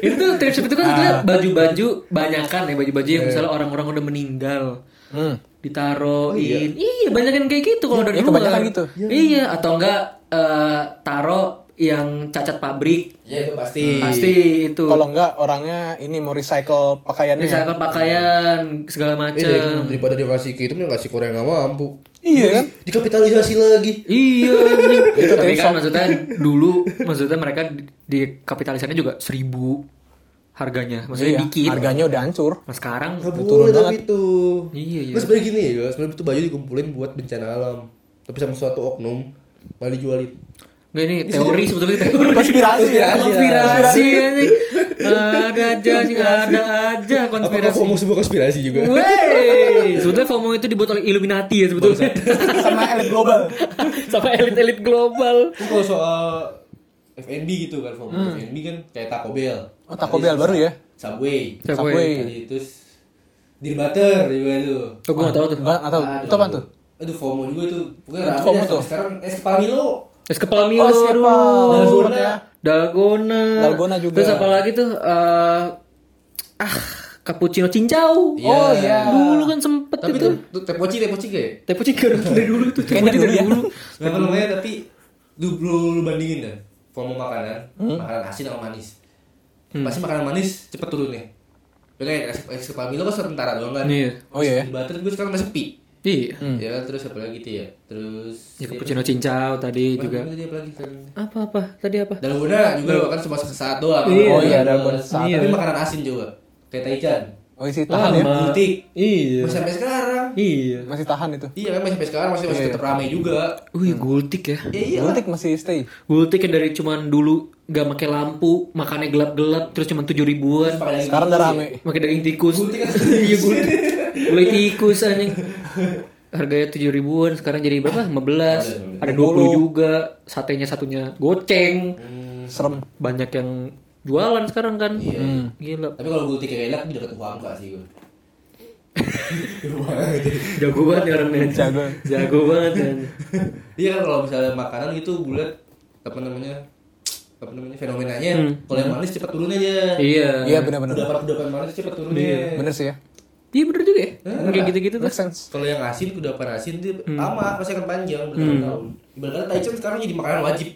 [SPEAKER 3] itu thrift shop itu kan sebetulnya
[SPEAKER 2] Ah.
[SPEAKER 3] baju-baju banyakan ya baju-baju
[SPEAKER 2] Iya.
[SPEAKER 3] yang misalnya orang-orang udah meninggal
[SPEAKER 2] Hmm.
[SPEAKER 3] ditaruhin iya banyakan kayak gitu kalau dari
[SPEAKER 2] ya,
[SPEAKER 3] luar
[SPEAKER 2] kebanyakan gitu.
[SPEAKER 3] iya atau enggak eh, taro yang cacat pabrik
[SPEAKER 1] Iya itu pasti.
[SPEAKER 3] pasti itu
[SPEAKER 2] Kalau enggak orangnya ini mau recycle pakaiannya. ya?
[SPEAKER 3] misalnya pakaian segala
[SPEAKER 1] Iya, dari-
[SPEAKER 3] macam
[SPEAKER 1] daripada dia kasih ke itu mending kasih Korea nggak mampu.
[SPEAKER 2] Iya kan?
[SPEAKER 1] Dikapitalisasi lagi.
[SPEAKER 3] Iya,
[SPEAKER 2] Itu
[SPEAKER 3] tapi
[SPEAKER 2] thrift
[SPEAKER 3] kan
[SPEAKER 2] shop.
[SPEAKER 3] maksudnya dulu maksudnya mereka di- di kapitalisannya juga seribu, harganya
[SPEAKER 2] Iya,
[SPEAKER 3] maksudnya dikit
[SPEAKER 2] harganya udah hancur
[SPEAKER 3] nah sekarang
[SPEAKER 1] Nggak
[SPEAKER 2] turun
[SPEAKER 1] boleh tapi itu.
[SPEAKER 3] Iya, iya.
[SPEAKER 1] Terus sebenarnya gini ya, sebenarnya itu baju dikumpulin buat bencana alam. Tapi sama suatu oknum malah dijualin.
[SPEAKER 3] nggak ini teori sebetulnya teori
[SPEAKER 2] Konspirasi ya.
[SPEAKER 3] konspirasi ya nih ada aja sih ada aja
[SPEAKER 1] Apakah
[SPEAKER 3] konspirasi
[SPEAKER 1] FOMO sebuah konspirasi juga?
[SPEAKER 3] Wey, <laughs> sebetulnya FOMO itu dibuat oleh Illuminati ya sebetulnya
[SPEAKER 2] sama elit global <laughs>
[SPEAKER 3] <laughs> sama elit-elit global
[SPEAKER 1] Itu kalau soal FNB gitu kan, FOMO FNB kan kayak Taco Bell.
[SPEAKER 2] oh Taco Bell baru ya
[SPEAKER 1] Subway.
[SPEAKER 2] Subway.
[SPEAKER 1] Tadi Terus Dear Butter juga itu.
[SPEAKER 3] Tuh gue gak tau tuh
[SPEAKER 2] nggak nggak tahu itu apa tuh
[SPEAKER 1] Aduh FOMO juga itu. Pokoknya rame
[SPEAKER 2] FOMO
[SPEAKER 1] deh,
[SPEAKER 2] tuh.
[SPEAKER 1] sekarang eh, es Pamilo.
[SPEAKER 3] Es kepala Milo
[SPEAKER 2] Oh, siapa? ya?
[SPEAKER 3] aduh.
[SPEAKER 1] Dalgona.
[SPEAKER 3] Dalgona
[SPEAKER 2] Dalgona juga.
[SPEAKER 3] Terus apa lagi tuh eh, Ah Cappuccino cincau
[SPEAKER 1] Iya. Oh, iya.
[SPEAKER 3] Dulu kan sempet
[SPEAKER 1] Tapi
[SPEAKER 3] itu
[SPEAKER 1] itu tuh tepoci tepoci kayak.
[SPEAKER 3] Tapi cincau dari dulu tuh
[SPEAKER 2] Kayaknya
[SPEAKER 3] Tepoci dari
[SPEAKER 2] dulu ya.
[SPEAKER 3] dulu
[SPEAKER 1] Kenapa namanya tapi lu lu, lu bandingin deh FOMO makanan, makanan asin sama manis. Pasti makanan manis cepet turun nih. Ya kayak es, es kepala Milo kan sementara doang kan.
[SPEAKER 3] Iya.
[SPEAKER 2] Oh, iya.
[SPEAKER 1] Di Butter gue sekarang masih sepi.
[SPEAKER 3] Iya
[SPEAKER 1] Ya kan terus apa lagi tuh ya? Terus
[SPEAKER 3] Ya cappuccino cincau tadi
[SPEAKER 1] Apa
[SPEAKER 3] juga
[SPEAKER 1] lagi tadi, apa lagi kan?
[SPEAKER 3] Apa-apa tadi apa
[SPEAKER 1] Dalgona juga kan cuma sesaat doang.
[SPEAKER 3] Iya.
[SPEAKER 2] Oh, iya, dalgona sesaat.
[SPEAKER 1] Tapi makanan asin juga. Kayak taichan.
[SPEAKER 2] oh isi tahan ya
[SPEAKER 3] Lama.
[SPEAKER 1] Butik.
[SPEAKER 3] Iya
[SPEAKER 1] Masih sampai sekarang.
[SPEAKER 3] Iya
[SPEAKER 2] masih tahan itu
[SPEAKER 1] Iya kan masih sampai sekarang masih masih tetap ramai juga.
[SPEAKER 3] Wih gultik ya
[SPEAKER 1] Ya iya.
[SPEAKER 2] Gultik masih stay
[SPEAKER 3] Gultik yang kan dari cuman dulu Gak pakai lampu Makannya gelap-gelap Terus cuman 7 ribuan
[SPEAKER 2] sekarang udah rame
[SPEAKER 3] Pakai daging tikus.
[SPEAKER 1] Gultik kan
[SPEAKER 3] Iya gultik. Gulai tikus anjing. Harganya tujuh ribuan, sekarang jadi berapa? 15. Ada 20 juga. Satenya satunya goceng.
[SPEAKER 1] Hmm.
[SPEAKER 2] serem
[SPEAKER 3] Banyak yang jualan sekarang kan. Hmm. Gila.
[SPEAKER 1] Iya. Tapi kalau gue tiga enak di dekat Huangka sih gue.
[SPEAKER 3] Jago banget ya orang Medan.
[SPEAKER 2] Jago.
[SPEAKER 3] Jago banget kan.
[SPEAKER 1] Iya kan kalau misalnya makanan gitu bulat apa namanya apa namanya fenomenanya kalau yang manis cepat turun aja.
[SPEAKER 3] Hmm. Iya.
[SPEAKER 2] iya benar-benar
[SPEAKER 1] Kudapan kudapan manis cepat turunnya.
[SPEAKER 2] bener sih ya
[SPEAKER 3] Iya bener juga ya. Kayak gitu-gitu tuh.
[SPEAKER 2] make sense
[SPEAKER 1] Kalau yang asin kudapan asin itu
[SPEAKER 3] Hmm.
[SPEAKER 1] lama pasti akan panjang bertahun-tahun. Ibaratnya Taichan sekarang jadi makanan wajib.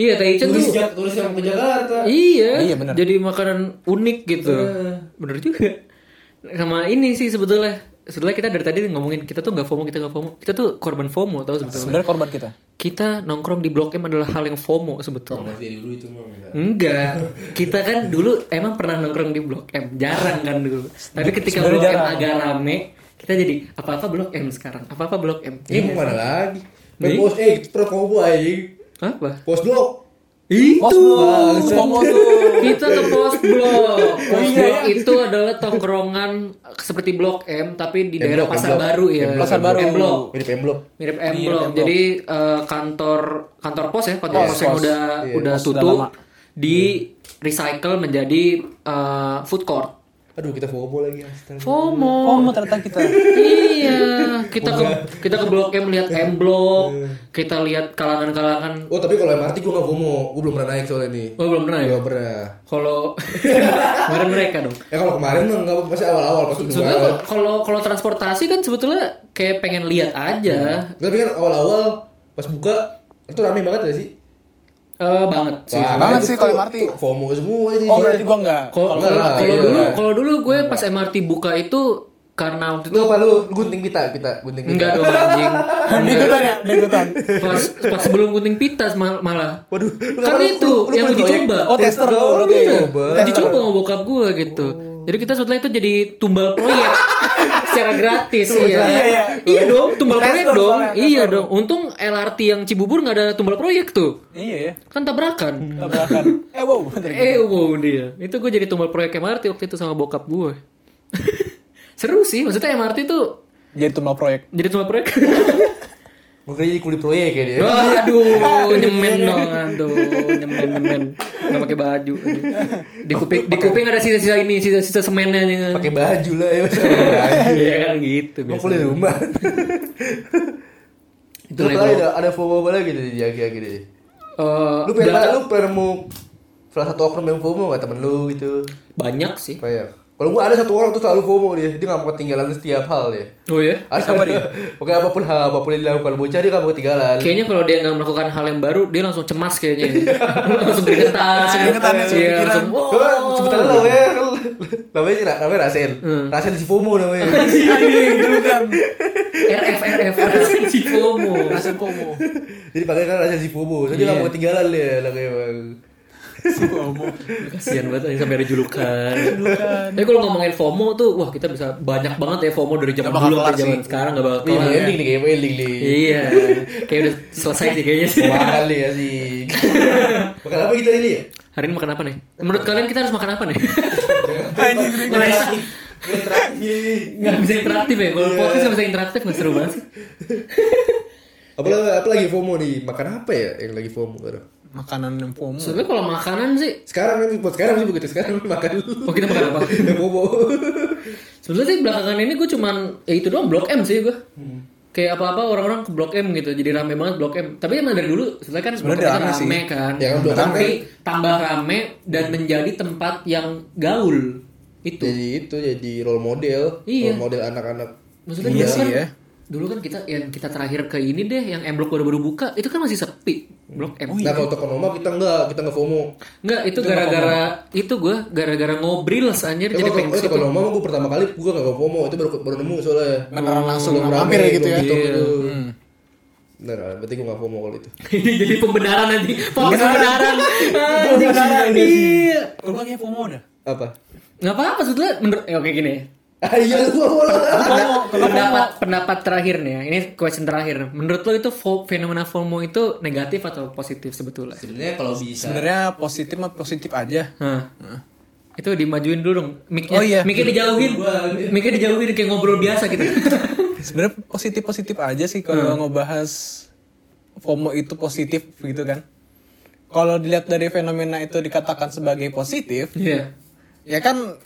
[SPEAKER 3] Iya, Taichan
[SPEAKER 1] Turis
[SPEAKER 3] tuh.
[SPEAKER 1] jak turis yang ke Jakarta.
[SPEAKER 3] Iya.
[SPEAKER 2] Iya, bener.
[SPEAKER 3] Jadi makanan unik gitu.
[SPEAKER 1] Iya.
[SPEAKER 3] Bener juga. Sama ini sih sebetulnya. Sebetulnya kita dari tadi ngomongin kita tuh nggak FOMO, kita nggak FOMO. Kita tuh korban FOMO tahu sebetulnya.
[SPEAKER 2] sebenarnya korban kita
[SPEAKER 3] kita nongkrong di Blok M adalah hal yang FOMO sebetulnya.
[SPEAKER 1] Mas dari dulu itu mah
[SPEAKER 3] Iya.
[SPEAKER 1] enggak.
[SPEAKER 3] Enggak, kita kan dulu emang pernah nongkrong di Blok M, jarang kan dulu. Tapi ketika
[SPEAKER 2] Sebenarnya
[SPEAKER 3] Blok M
[SPEAKER 2] jarang.
[SPEAKER 3] agak rame, kita jadi apa-apa Blok M sekarang, apa-apa Blok M.
[SPEAKER 1] Ini mau mana lagi? Main pos eh pro combo anjing.
[SPEAKER 3] Apa?
[SPEAKER 1] Pos blok.
[SPEAKER 2] Pos
[SPEAKER 3] Itu.
[SPEAKER 2] blok, FOMO tuh.
[SPEAKER 3] Kita ke Pos Blok. Pos Blok itu adalah tongkrongan seperti Blok M tapi di daerah
[SPEAKER 1] Blok, M
[SPEAKER 3] Pasar
[SPEAKER 1] Blok.
[SPEAKER 3] Baru ya.
[SPEAKER 2] Pasar Baru.
[SPEAKER 3] M Blok.
[SPEAKER 1] Mirip M blok.
[SPEAKER 3] mirip M Block. Jadi eh, kantor kantor pos ya, kantor pos yang udah udah tutup di recycle menjadi eh, food court.
[SPEAKER 1] Aduh kita fomo lagi astaga.
[SPEAKER 3] FOMO.
[SPEAKER 2] FOMO ternyata <laughs> kita
[SPEAKER 3] iya, kita ke kita ke Blok M lihat M Block, kita lihat kalangan-kalangan.
[SPEAKER 1] Oh tapi kalau MRT gue gak FOMO, gue belum pernah naik soalnya nih
[SPEAKER 3] Oh, belum pernah ya?
[SPEAKER 1] Belum pernah
[SPEAKER 3] Kalau kemarin mereka dong.
[SPEAKER 1] Ya kalau kemarin mah gak apa-apa sih awal-awal pas dulu
[SPEAKER 3] Sebetulnya kalau- kalau kalau transportasi kan sebetulnya kayak pengen
[SPEAKER 1] Iya.
[SPEAKER 3] lihat aja.
[SPEAKER 1] Tapi kan awal-awal pas buka itu rame banget gak sih? Iya.
[SPEAKER 3] Eh, banget sih.
[SPEAKER 1] Wah,
[SPEAKER 2] banget
[SPEAKER 1] itu
[SPEAKER 2] sih kalau
[SPEAKER 1] tuh-
[SPEAKER 2] MRT.
[SPEAKER 1] tuh FOMO semua ini
[SPEAKER 2] oh berarti gua enggak
[SPEAKER 3] Kalau
[SPEAKER 1] Enggak lah,
[SPEAKER 3] kalau
[SPEAKER 1] iya.
[SPEAKER 3] dulu kalau dulu gue pas MRT buka itu karena waktu itu
[SPEAKER 1] Lu apa lu gunting pita, pita, gunting pita
[SPEAKER 3] Enggak dong anjing.
[SPEAKER 2] Dikutan ya, dikutan.
[SPEAKER 3] Pas, pas sebelum gunting pita mal- malah.
[SPEAKER 1] Waduh lu kenapa
[SPEAKER 3] Kan
[SPEAKER 1] lu-
[SPEAKER 3] itu,
[SPEAKER 1] lu
[SPEAKER 3] yang
[SPEAKER 1] kan
[SPEAKER 3] uji
[SPEAKER 1] proyek.
[SPEAKER 3] coba.
[SPEAKER 2] Oh, tester lu
[SPEAKER 1] doang,
[SPEAKER 2] berarti.
[SPEAKER 1] iya.
[SPEAKER 3] Udah dicoba sama bokap gue gitu.
[SPEAKER 1] Oh.
[SPEAKER 3] Jadi kita setelah itu jadi tumbal
[SPEAKER 1] <laughs>
[SPEAKER 3] proyek secara gratis ya.
[SPEAKER 2] proyek, iya.
[SPEAKER 3] Iya dong, tumbal
[SPEAKER 2] Investor
[SPEAKER 3] proyek dong.
[SPEAKER 2] soalnya,
[SPEAKER 3] Iya dong. Untung LRT yang Cibubur nggak ada tumbal proyek tuh.
[SPEAKER 2] Iya ya.
[SPEAKER 3] Kan tabrakan.
[SPEAKER 2] Tabrakan. <laughs> Eh wow. bentar.
[SPEAKER 3] Eh, wow dia. Itu gue jadi tumbal proyek MRT waktu itu sama bokap gue. <laughs> Seru sih, maksudnya MRT tuh
[SPEAKER 2] Jadi tumbal proyek.
[SPEAKER 3] jadi tumbal proyek.
[SPEAKER 1] Makanya jadi kulit proyek ya dia
[SPEAKER 3] Aduh, nyemen dong, aduh, nyemen nyemen, nggak pakai baju. Di kuping, di kuping ada sisa-sisa ini, sisa-sisa semennya. ya kan?
[SPEAKER 1] Pakai baju lah ya pakai baju.
[SPEAKER 3] Iya kan gitu
[SPEAKER 1] Mau
[SPEAKER 3] biasa.
[SPEAKER 1] kulit rumah
[SPEAKER 3] Itu
[SPEAKER 1] Lu
[SPEAKER 3] lah
[SPEAKER 1] tau
[SPEAKER 3] itu.
[SPEAKER 1] ada, ada FOMO apa lagi dari di akhir-akhir ini?
[SPEAKER 3] Eh,
[SPEAKER 1] Lu pernah, lu pernah mau Salah satu oknum yang FOMO gak temen lu gitu?
[SPEAKER 3] banyak sih.
[SPEAKER 1] Banyak. Kalau gua ada satu orang tuh selalu FOMO dia, dia nggak mau ketinggalan setiap hal dia.
[SPEAKER 3] Oh ya.
[SPEAKER 1] Ada apa dia? <laughs> Pokoknya apapun hal, apapun yang dilakukan bocah dia nggak mau ketinggalan.
[SPEAKER 3] Kayaknya kalau dia nggak melakukan hal yang baru, dia langsung cemas kayaknya. <laughs> langsung keringetan. Langsung
[SPEAKER 2] keringetan, langsung
[SPEAKER 3] Iya,
[SPEAKER 2] kepikiran.
[SPEAKER 3] langsung. "Wow." Hmm.
[SPEAKER 1] Coba kan sebutan lu namanya, namanya sih namanya Rasen. Rasen si FOMO
[SPEAKER 3] <laughs>
[SPEAKER 1] namanya.
[SPEAKER 3] RF RF RF si FOMO.
[SPEAKER 2] Masuk komo.
[SPEAKER 3] Iya.
[SPEAKER 1] Jadi pakai kan Rasen si FOMO, jadi dia nggak mau ketinggalan dia lah kayak bang.
[SPEAKER 3] FOMO. Kasihan banget yang sampai ada julukan. Tapi kalau ngomongin FOMO tuh, wah kita bisa banyak banget ya FOMO dari zaman
[SPEAKER 2] Nggak bakal
[SPEAKER 3] dulu sampai
[SPEAKER 2] kelar
[SPEAKER 3] zaman
[SPEAKER 2] sih.
[SPEAKER 3] sekarang gak bakal
[SPEAKER 1] Ini
[SPEAKER 3] kelar.
[SPEAKER 1] ending nih, kayaknya ending nih.
[SPEAKER 3] ya. Iya, kayak udah selesai sih kayaknya sih.
[SPEAKER 1] Mahal ya
[SPEAKER 3] <laughs>
[SPEAKER 1] sih. Makan apa kita ini ya?
[SPEAKER 3] Hari ini makan apa nih? Menurut kalian kita harus makan apa nih?
[SPEAKER 2] Anjing,
[SPEAKER 1] Interaktif. Interaktif.
[SPEAKER 3] Gak bisa interaktif ya, kalau podcast nggak bisa interaktif nggak seru banget sih.
[SPEAKER 1] Apalagi, apalagi FOMO nih, makan apa ya yang lagi FOMO sekarang?
[SPEAKER 2] Makanan yang FOMO.
[SPEAKER 3] Sebenernya kalau makanan sih,
[SPEAKER 1] Sekarang nih, buat sekarang sih begitu, sekarang <laughs> nih makan dulu
[SPEAKER 3] oh
[SPEAKER 2] gitu.
[SPEAKER 3] kita makan apa?
[SPEAKER 1] Udah FOMO
[SPEAKER 3] Sebenarnya sih belakangan ini gue cuman ya itu doang Blok M sih gue. Kayak apa-apa orang-orang ke Blok M gitu. Jadi rame banget Blok M. Tapi emang dari dulu sebenarnya kan Blok M
[SPEAKER 2] Sebenarnya
[SPEAKER 3] kan
[SPEAKER 2] rame
[SPEAKER 3] rame,
[SPEAKER 2] sih.
[SPEAKER 3] kan.
[SPEAKER 1] Ya kan, Blok M
[SPEAKER 3] Tapi tambah rame dan menjadi tempat yang gaul.
[SPEAKER 2] Gitu.
[SPEAKER 3] Itu.
[SPEAKER 1] Jadi itu, jadi role model
[SPEAKER 3] Iya.
[SPEAKER 1] Role model anak-anak
[SPEAKER 3] Maksudnya
[SPEAKER 2] Iya
[SPEAKER 3] dulu
[SPEAKER 2] sih
[SPEAKER 3] kan,
[SPEAKER 2] ya.
[SPEAKER 3] dulu kan kita yang kita terakhir ke ini deh yang M Blok baru-baru buka itu kan masih sepi Blok
[SPEAKER 2] Oh,
[SPEAKER 3] M.
[SPEAKER 1] Nah
[SPEAKER 2] iya.
[SPEAKER 1] kalau Tokonoma kita enggak, kita enggak FOMO
[SPEAKER 3] Enggak, itu gara-gara itu gue gara-gara ngobril anjir
[SPEAKER 1] Jadi
[SPEAKER 3] jadi pengen ke situ.
[SPEAKER 1] Tokonoma mah gue pertama kali, gue enggak FOMO, itu baru, baru nemu soalnya
[SPEAKER 2] Beneran langsung
[SPEAKER 1] Belum
[SPEAKER 2] mampir
[SPEAKER 1] rame,
[SPEAKER 2] gitu
[SPEAKER 1] belum
[SPEAKER 2] ya.
[SPEAKER 1] gitu, gitu.
[SPEAKER 2] Hmm.
[SPEAKER 1] Bener, berarti gue enggak FOMO kalau itu
[SPEAKER 3] Ini <laughs> jadi pembenaran nanti. Fokus pembenaran. Anjing, Iya.
[SPEAKER 2] Kalau lagi FOMO dah.
[SPEAKER 1] Apa? <laughs>
[SPEAKER 3] Nggak apa-apa sebetulnya menurut eh, oke gini.
[SPEAKER 1] Ah iya, lu FOMO lah
[SPEAKER 2] FOMO, kalau
[SPEAKER 3] Pendapat pendapat terakhir nih ya. Ini question terakhir. Menurut lo itu fo- fenomena FOMO itu negatif atau positif sebetulnya?
[SPEAKER 1] Sebenernya kalau bisa
[SPEAKER 2] sebenarnya positif mah positif aja.
[SPEAKER 3] Hah. Itu dimajuin dulu dong. Mic-nya.
[SPEAKER 2] Oh, iya.
[SPEAKER 3] Mic-nya dijauhin. Mic-nya dijauhin kayak ngobrol biasa
[SPEAKER 2] <laughs>
[SPEAKER 3] gitu.
[SPEAKER 2] Sebenarnya positif positif aja sih kalau
[SPEAKER 3] Hmm.
[SPEAKER 2] ngebahas FOMO itu positif gitu kan. Kalau dilihat dari fenomena itu dikatakan sebagai positif,
[SPEAKER 3] Iya.
[SPEAKER 2] ya kan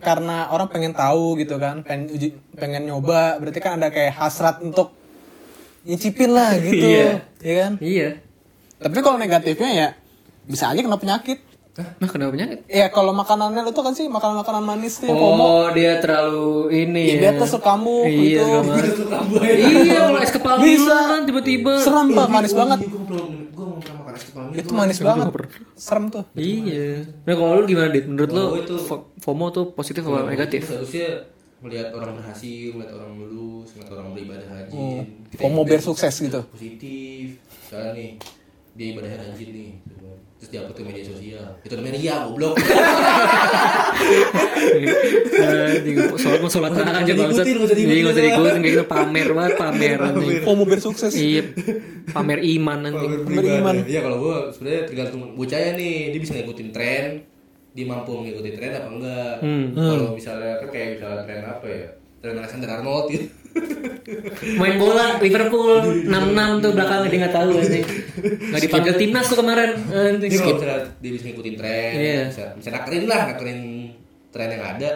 [SPEAKER 2] karena orang pengen tahu gitu kan, pengen uji- pengen nyoba, berarti kan ada kayak hasrat untuk nyicipin
[SPEAKER 3] <laughs>
[SPEAKER 2] lah gitu,
[SPEAKER 3] Iya.
[SPEAKER 2] ya kan.
[SPEAKER 3] Iya.
[SPEAKER 2] Tapi kalau negatifnya ya bisa aja kena penyakit.
[SPEAKER 3] Nah, kenapa penyakit?
[SPEAKER 2] Ya kalau makanannya lu tuh kan sih makanan-makanan manis tuh yang FOMO.
[SPEAKER 3] Oh, dia terlalu ini.
[SPEAKER 2] Dia
[SPEAKER 3] ya.
[SPEAKER 2] tuh suka kamu
[SPEAKER 3] Iya,
[SPEAKER 2] gitu.
[SPEAKER 3] segala macam. Iya, kalau es kepala
[SPEAKER 2] Bisa.
[SPEAKER 3] hilang kan, tiba-tiba.
[SPEAKER 2] Serem
[SPEAKER 1] Iya,
[SPEAKER 2] pak, manis banget.
[SPEAKER 1] Gue belum, gue mau pernah makan es kepala
[SPEAKER 2] Itu manis banget. Serem tuh.
[SPEAKER 3] Iya. Nah kalau lu gimana Dit? Menurut lu
[SPEAKER 1] itu-
[SPEAKER 3] fo- FOMO tuh positif atau negatif?
[SPEAKER 1] Seharusnya melihat orang berhasil, melihat orang lulus, melihat orang beribadah haji. Kita ikutin
[SPEAKER 2] Mau Hmm. biar sukses gitu.
[SPEAKER 1] positif. Sekarang nih dia ibadah haji nih. Terus diupload ke media sosial. Itu namanya ria goblok.
[SPEAKER 3] Iya, Anjing, Soalnya iya. mau sholat tenang
[SPEAKER 1] Nggak
[SPEAKER 3] aja
[SPEAKER 1] usah
[SPEAKER 3] bangsat.
[SPEAKER 1] diikutin, nggak usah
[SPEAKER 3] Iya, nggak usah
[SPEAKER 1] diikutin.
[SPEAKER 3] diikutin kayak gitu pamer banget, pamer anjing.
[SPEAKER 2] Mau biar sukses.
[SPEAKER 3] Iya, pamer iman anjing.
[SPEAKER 1] Beriman. Ya kalau gue sebenarnya tergantung bocahnya nih, dia bisa ngikutin tren, dia mampu ngikutin tren apa enggak. Kalau misalnya kan kayak misalnya tren apa ya? Tren Alexander Arnold gitu.
[SPEAKER 3] Main bola Liverpool 66 tuh belakangnya dia nggak tahu anjing. Nggak dipanggil timnas tuh kemarin. Anjing.
[SPEAKER 1] Dia kalau misalnya dia bisa ngikutin tren,
[SPEAKER 3] Iya.
[SPEAKER 1] bisa, bisa nakerin lah, nakerin tren yang ada.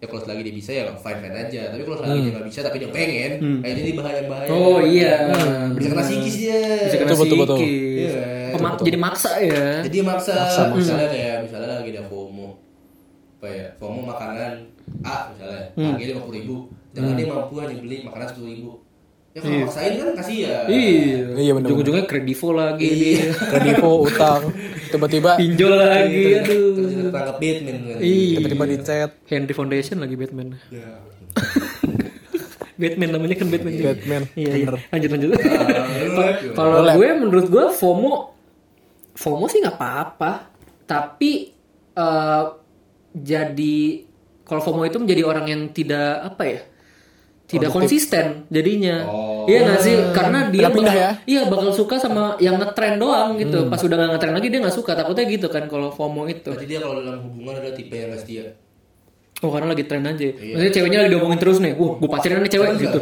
[SPEAKER 1] Ya kalau lagi dia bisa ya fine fine aja. Tapi kalau lagi dia nggak bisa tapi dia pengen, kayaknya ini bahaya bahaya.
[SPEAKER 3] Hmm.
[SPEAKER 1] Hmm.
[SPEAKER 3] Oh iya.
[SPEAKER 1] Bisa kena psikis dia.
[SPEAKER 3] Bisa kena
[SPEAKER 2] Betul, betul, betul.
[SPEAKER 3] psikis.
[SPEAKER 1] Iya.
[SPEAKER 3] Pema- Jadi maksa ya.
[SPEAKER 1] Jadi dia maksa, misalnya kayak misalnya lagi ada FOMO, apa ya, FOMO makanan A misalnya,
[SPEAKER 3] Hmm.
[SPEAKER 1] harganya lima puluh ribu, jangan dia mampu hanya beli makanan sepuluh ribu. Ya kalau maksain kan kasih ya.
[SPEAKER 3] Iya,
[SPEAKER 2] Iya, bener-bener.
[SPEAKER 3] ujung-ujungnya kredivo lagi,
[SPEAKER 1] Iya.
[SPEAKER 3] dia.
[SPEAKER 2] Kredivo, utang. Tiba-tiba
[SPEAKER 3] pinjol lagi,
[SPEAKER 1] Iya,
[SPEAKER 3] aduh. Iya.
[SPEAKER 1] Terus kita tangkap Batman kan.
[SPEAKER 2] tiba-tiba dicet.
[SPEAKER 3] Henry Foundation lagi Batman.
[SPEAKER 1] Ya.
[SPEAKER 3] <laughs> Batman namanya kan Batman. juga.
[SPEAKER 2] Batman,
[SPEAKER 3] Iya, iya. Lanjut lanjut. <laughs>
[SPEAKER 1] Nah,
[SPEAKER 3] Kalau gue menurut gue FOMO FOMO sih nggak apa-apa, tapi eh, jadi kalau FOMO itu menjadi orang yang tidak apa ya? Tidak konsisten jadinya. Iya nggak sih? Karena dia
[SPEAKER 2] Pindah- pindah
[SPEAKER 3] bakal-
[SPEAKER 2] ya? Hmm.
[SPEAKER 3] Iya bakal suka sama yang ngetren doang gitu. Pas udah nggak ngetren lagi dia nggak suka. Takutnya gitu kan kalau FOMO itu.
[SPEAKER 1] Berarti dia kalau dalam hubungan ada tipe yang gak setia.
[SPEAKER 3] Oh karena lagi tren
[SPEAKER 1] Iya.
[SPEAKER 3] aja. ya? Maksudnya ceweknya lagi diomongin terus nih. Wah, gue pacaran nih cewek gitu.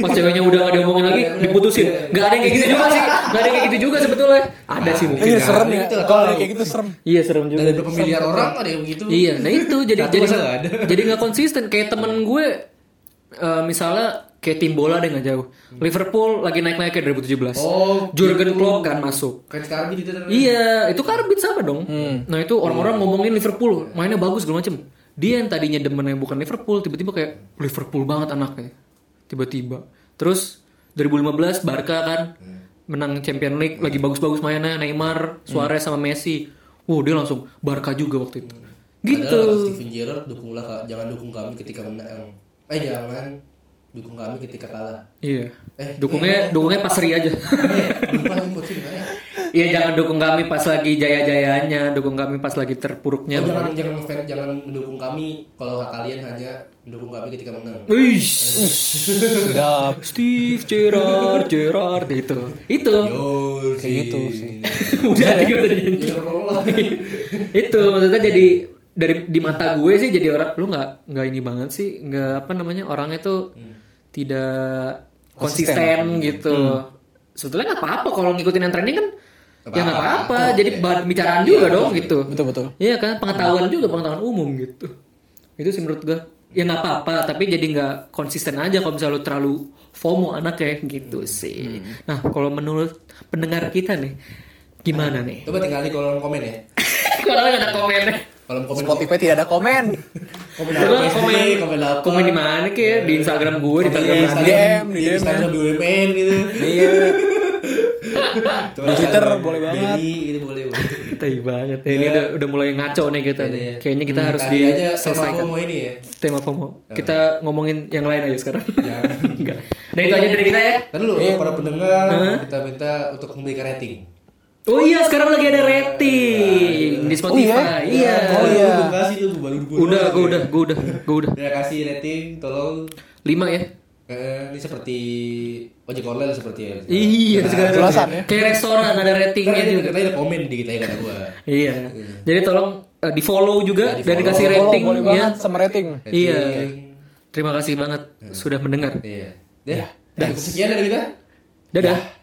[SPEAKER 3] Pas ceweknya udah gak diomongin lagi,
[SPEAKER 1] Iya.
[SPEAKER 3] diputusin. Gak ada yang kayak gitu juga
[SPEAKER 1] <laughs>
[SPEAKER 3] sih. Gak ada yang kayak gitu juga sebetulnya. Ada sih mungkin.
[SPEAKER 2] Iya serem ya.
[SPEAKER 1] Gitu,
[SPEAKER 2] Kalau ada kayak gitu serem.
[SPEAKER 3] Iya serem juga.
[SPEAKER 1] Dari beberapa miliar orang ada yang begitu.
[SPEAKER 3] Iya, nah itu jadi
[SPEAKER 1] Satu
[SPEAKER 3] jadi
[SPEAKER 1] masa nggak ada.
[SPEAKER 3] <laughs> jadi nggak konsisten. Kayak temen gue, eh, misalnya kayak tim bola deh nggak jauh. Liverpool lagi naik naiknya 2017.
[SPEAKER 1] Oh,
[SPEAKER 3] Jurgen Klopp kan masuk.
[SPEAKER 1] Kan sekarang gitu ternyata.
[SPEAKER 3] Iya, itu karbit sama dong. Nah itu orang-orang ngomongin Liverpool, mainnya bagus segala macem. Dia yang tadinya demennya bukan Liverpool, tiba-tiba kayak Liverpool banget anaknya. Tiba-tiba. Terus 2015 Barca kan menang Champion League, lagi bagus-bagus mainnya Neymar, Suarez sama Messi. Wow dia langsung Barca juga waktu itu. Gitu.
[SPEAKER 1] Padahal kata Steven Gerrard dukunglah Kak. jangan dukung kami ketika menang. Eh jangan dukung kami ketika kalah.
[SPEAKER 3] Iya. Dukungnya dukungnya pas seri aja.
[SPEAKER 1] Eh, lupa lagi buat sini, Kak, ya.
[SPEAKER 3] Iya jangan dukung kami pas lagi jaya-jayanya, dukung kami pas lagi terpuruknya.
[SPEAKER 1] Oh, jangan jangan ngefans, jangan mendukung kami kalau kalian hanya mendukung kami ketika menang.
[SPEAKER 3] Wih, sedap. Steve Gerrard, Gerrard itu. Itu.
[SPEAKER 1] Oh, kayak
[SPEAKER 2] gitu sih.
[SPEAKER 3] <laughs> Udah gitu tadi.
[SPEAKER 1] Iya,
[SPEAKER 3] itu maksudnya jadi dari di mata gue sih jadi orang lu nggak nggak ini banget sih nggak apa namanya orangnya tuh tidak konsisten, gitu sebetulnya nggak apa-apa kalau ngikutin yang trending kan ya nggak apa-apa jadi bahan pembicaraan juga dong gitu
[SPEAKER 2] betul betul
[SPEAKER 3] Iya kan pengetahuan juga pengetahuan umum gitu. Itu sih menurut gue ya nggak apa-apa tapi jadi nggak konsisten aja kalau misalnya lu terlalu FOMO anak ya gitu sih. Nah kalau menurut pendengar kita nih gimana
[SPEAKER 1] <laughs>
[SPEAKER 3] nih?
[SPEAKER 1] Coba tinggal di kolom komen ya.
[SPEAKER 3] Kalau nggak ada komen
[SPEAKER 1] Kolom komen
[SPEAKER 2] Spotify tidak ada komen
[SPEAKER 1] komen
[SPEAKER 3] Lu
[SPEAKER 1] apa
[SPEAKER 3] komen Iya,
[SPEAKER 1] sih? Komen apa?
[SPEAKER 3] komen di mana kayak di Instagram gue di Instagram
[SPEAKER 1] Instagram,
[SPEAKER 3] dia.
[SPEAKER 2] DM,
[SPEAKER 1] di
[SPEAKER 2] DM.
[SPEAKER 1] Instagram BUMN gitu. <laughs>
[SPEAKER 2] iya
[SPEAKER 1] Coba
[SPEAKER 2] Di Twitter
[SPEAKER 1] Instagram
[SPEAKER 2] boleh banget.
[SPEAKER 1] Beli, gitu boleh. boleh.
[SPEAKER 3] Tai banget. Ini udah, udah mulai ngaco nih kita nih.
[SPEAKER 1] Iya.
[SPEAKER 3] Kayaknya kita harus
[SPEAKER 1] Kali aja sama aku
[SPEAKER 3] diselesaikan
[SPEAKER 1] mau ini ya.
[SPEAKER 3] tema FOMO. Kita ngomongin yang lain aja sekarang.
[SPEAKER 1] Jangan.
[SPEAKER 3] <laughs> Enggak. Nah itu aja dari kita ya.
[SPEAKER 1] Kan lu para pendengar kita minta untuk memberikan rating.
[SPEAKER 3] Oh iya, sekarang lagi ada rating di Spotify. iya.
[SPEAKER 1] Oh iya. Terima kasih tuh baru gua.
[SPEAKER 3] Udah, gue udah, gue udah, gue udah.
[SPEAKER 1] Terima kasih rating, tolong
[SPEAKER 3] Lima ya.
[SPEAKER 1] Eh, ini seperti ojek online seperti ya.
[SPEAKER 3] Iya, sekarang ada-
[SPEAKER 2] jelasan ya.
[SPEAKER 3] Kayak restoran ada ratingnya
[SPEAKER 1] Ini
[SPEAKER 3] juga.
[SPEAKER 1] kita ada komen di kita ya kata gua.
[SPEAKER 3] Iya. Jadi tolong di follow juga dan dikasih
[SPEAKER 2] Follow,
[SPEAKER 3] rating
[SPEAKER 2] boleh
[SPEAKER 3] ya.
[SPEAKER 2] banget sama rating
[SPEAKER 3] Iya.
[SPEAKER 1] Rating.
[SPEAKER 3] Terima kasih banget sudah mendengar. Ya.
[SPEAKER 1] Iya. Dah. Dah, cukup sekian dari kita.
[SPEAKER 3] Dadah.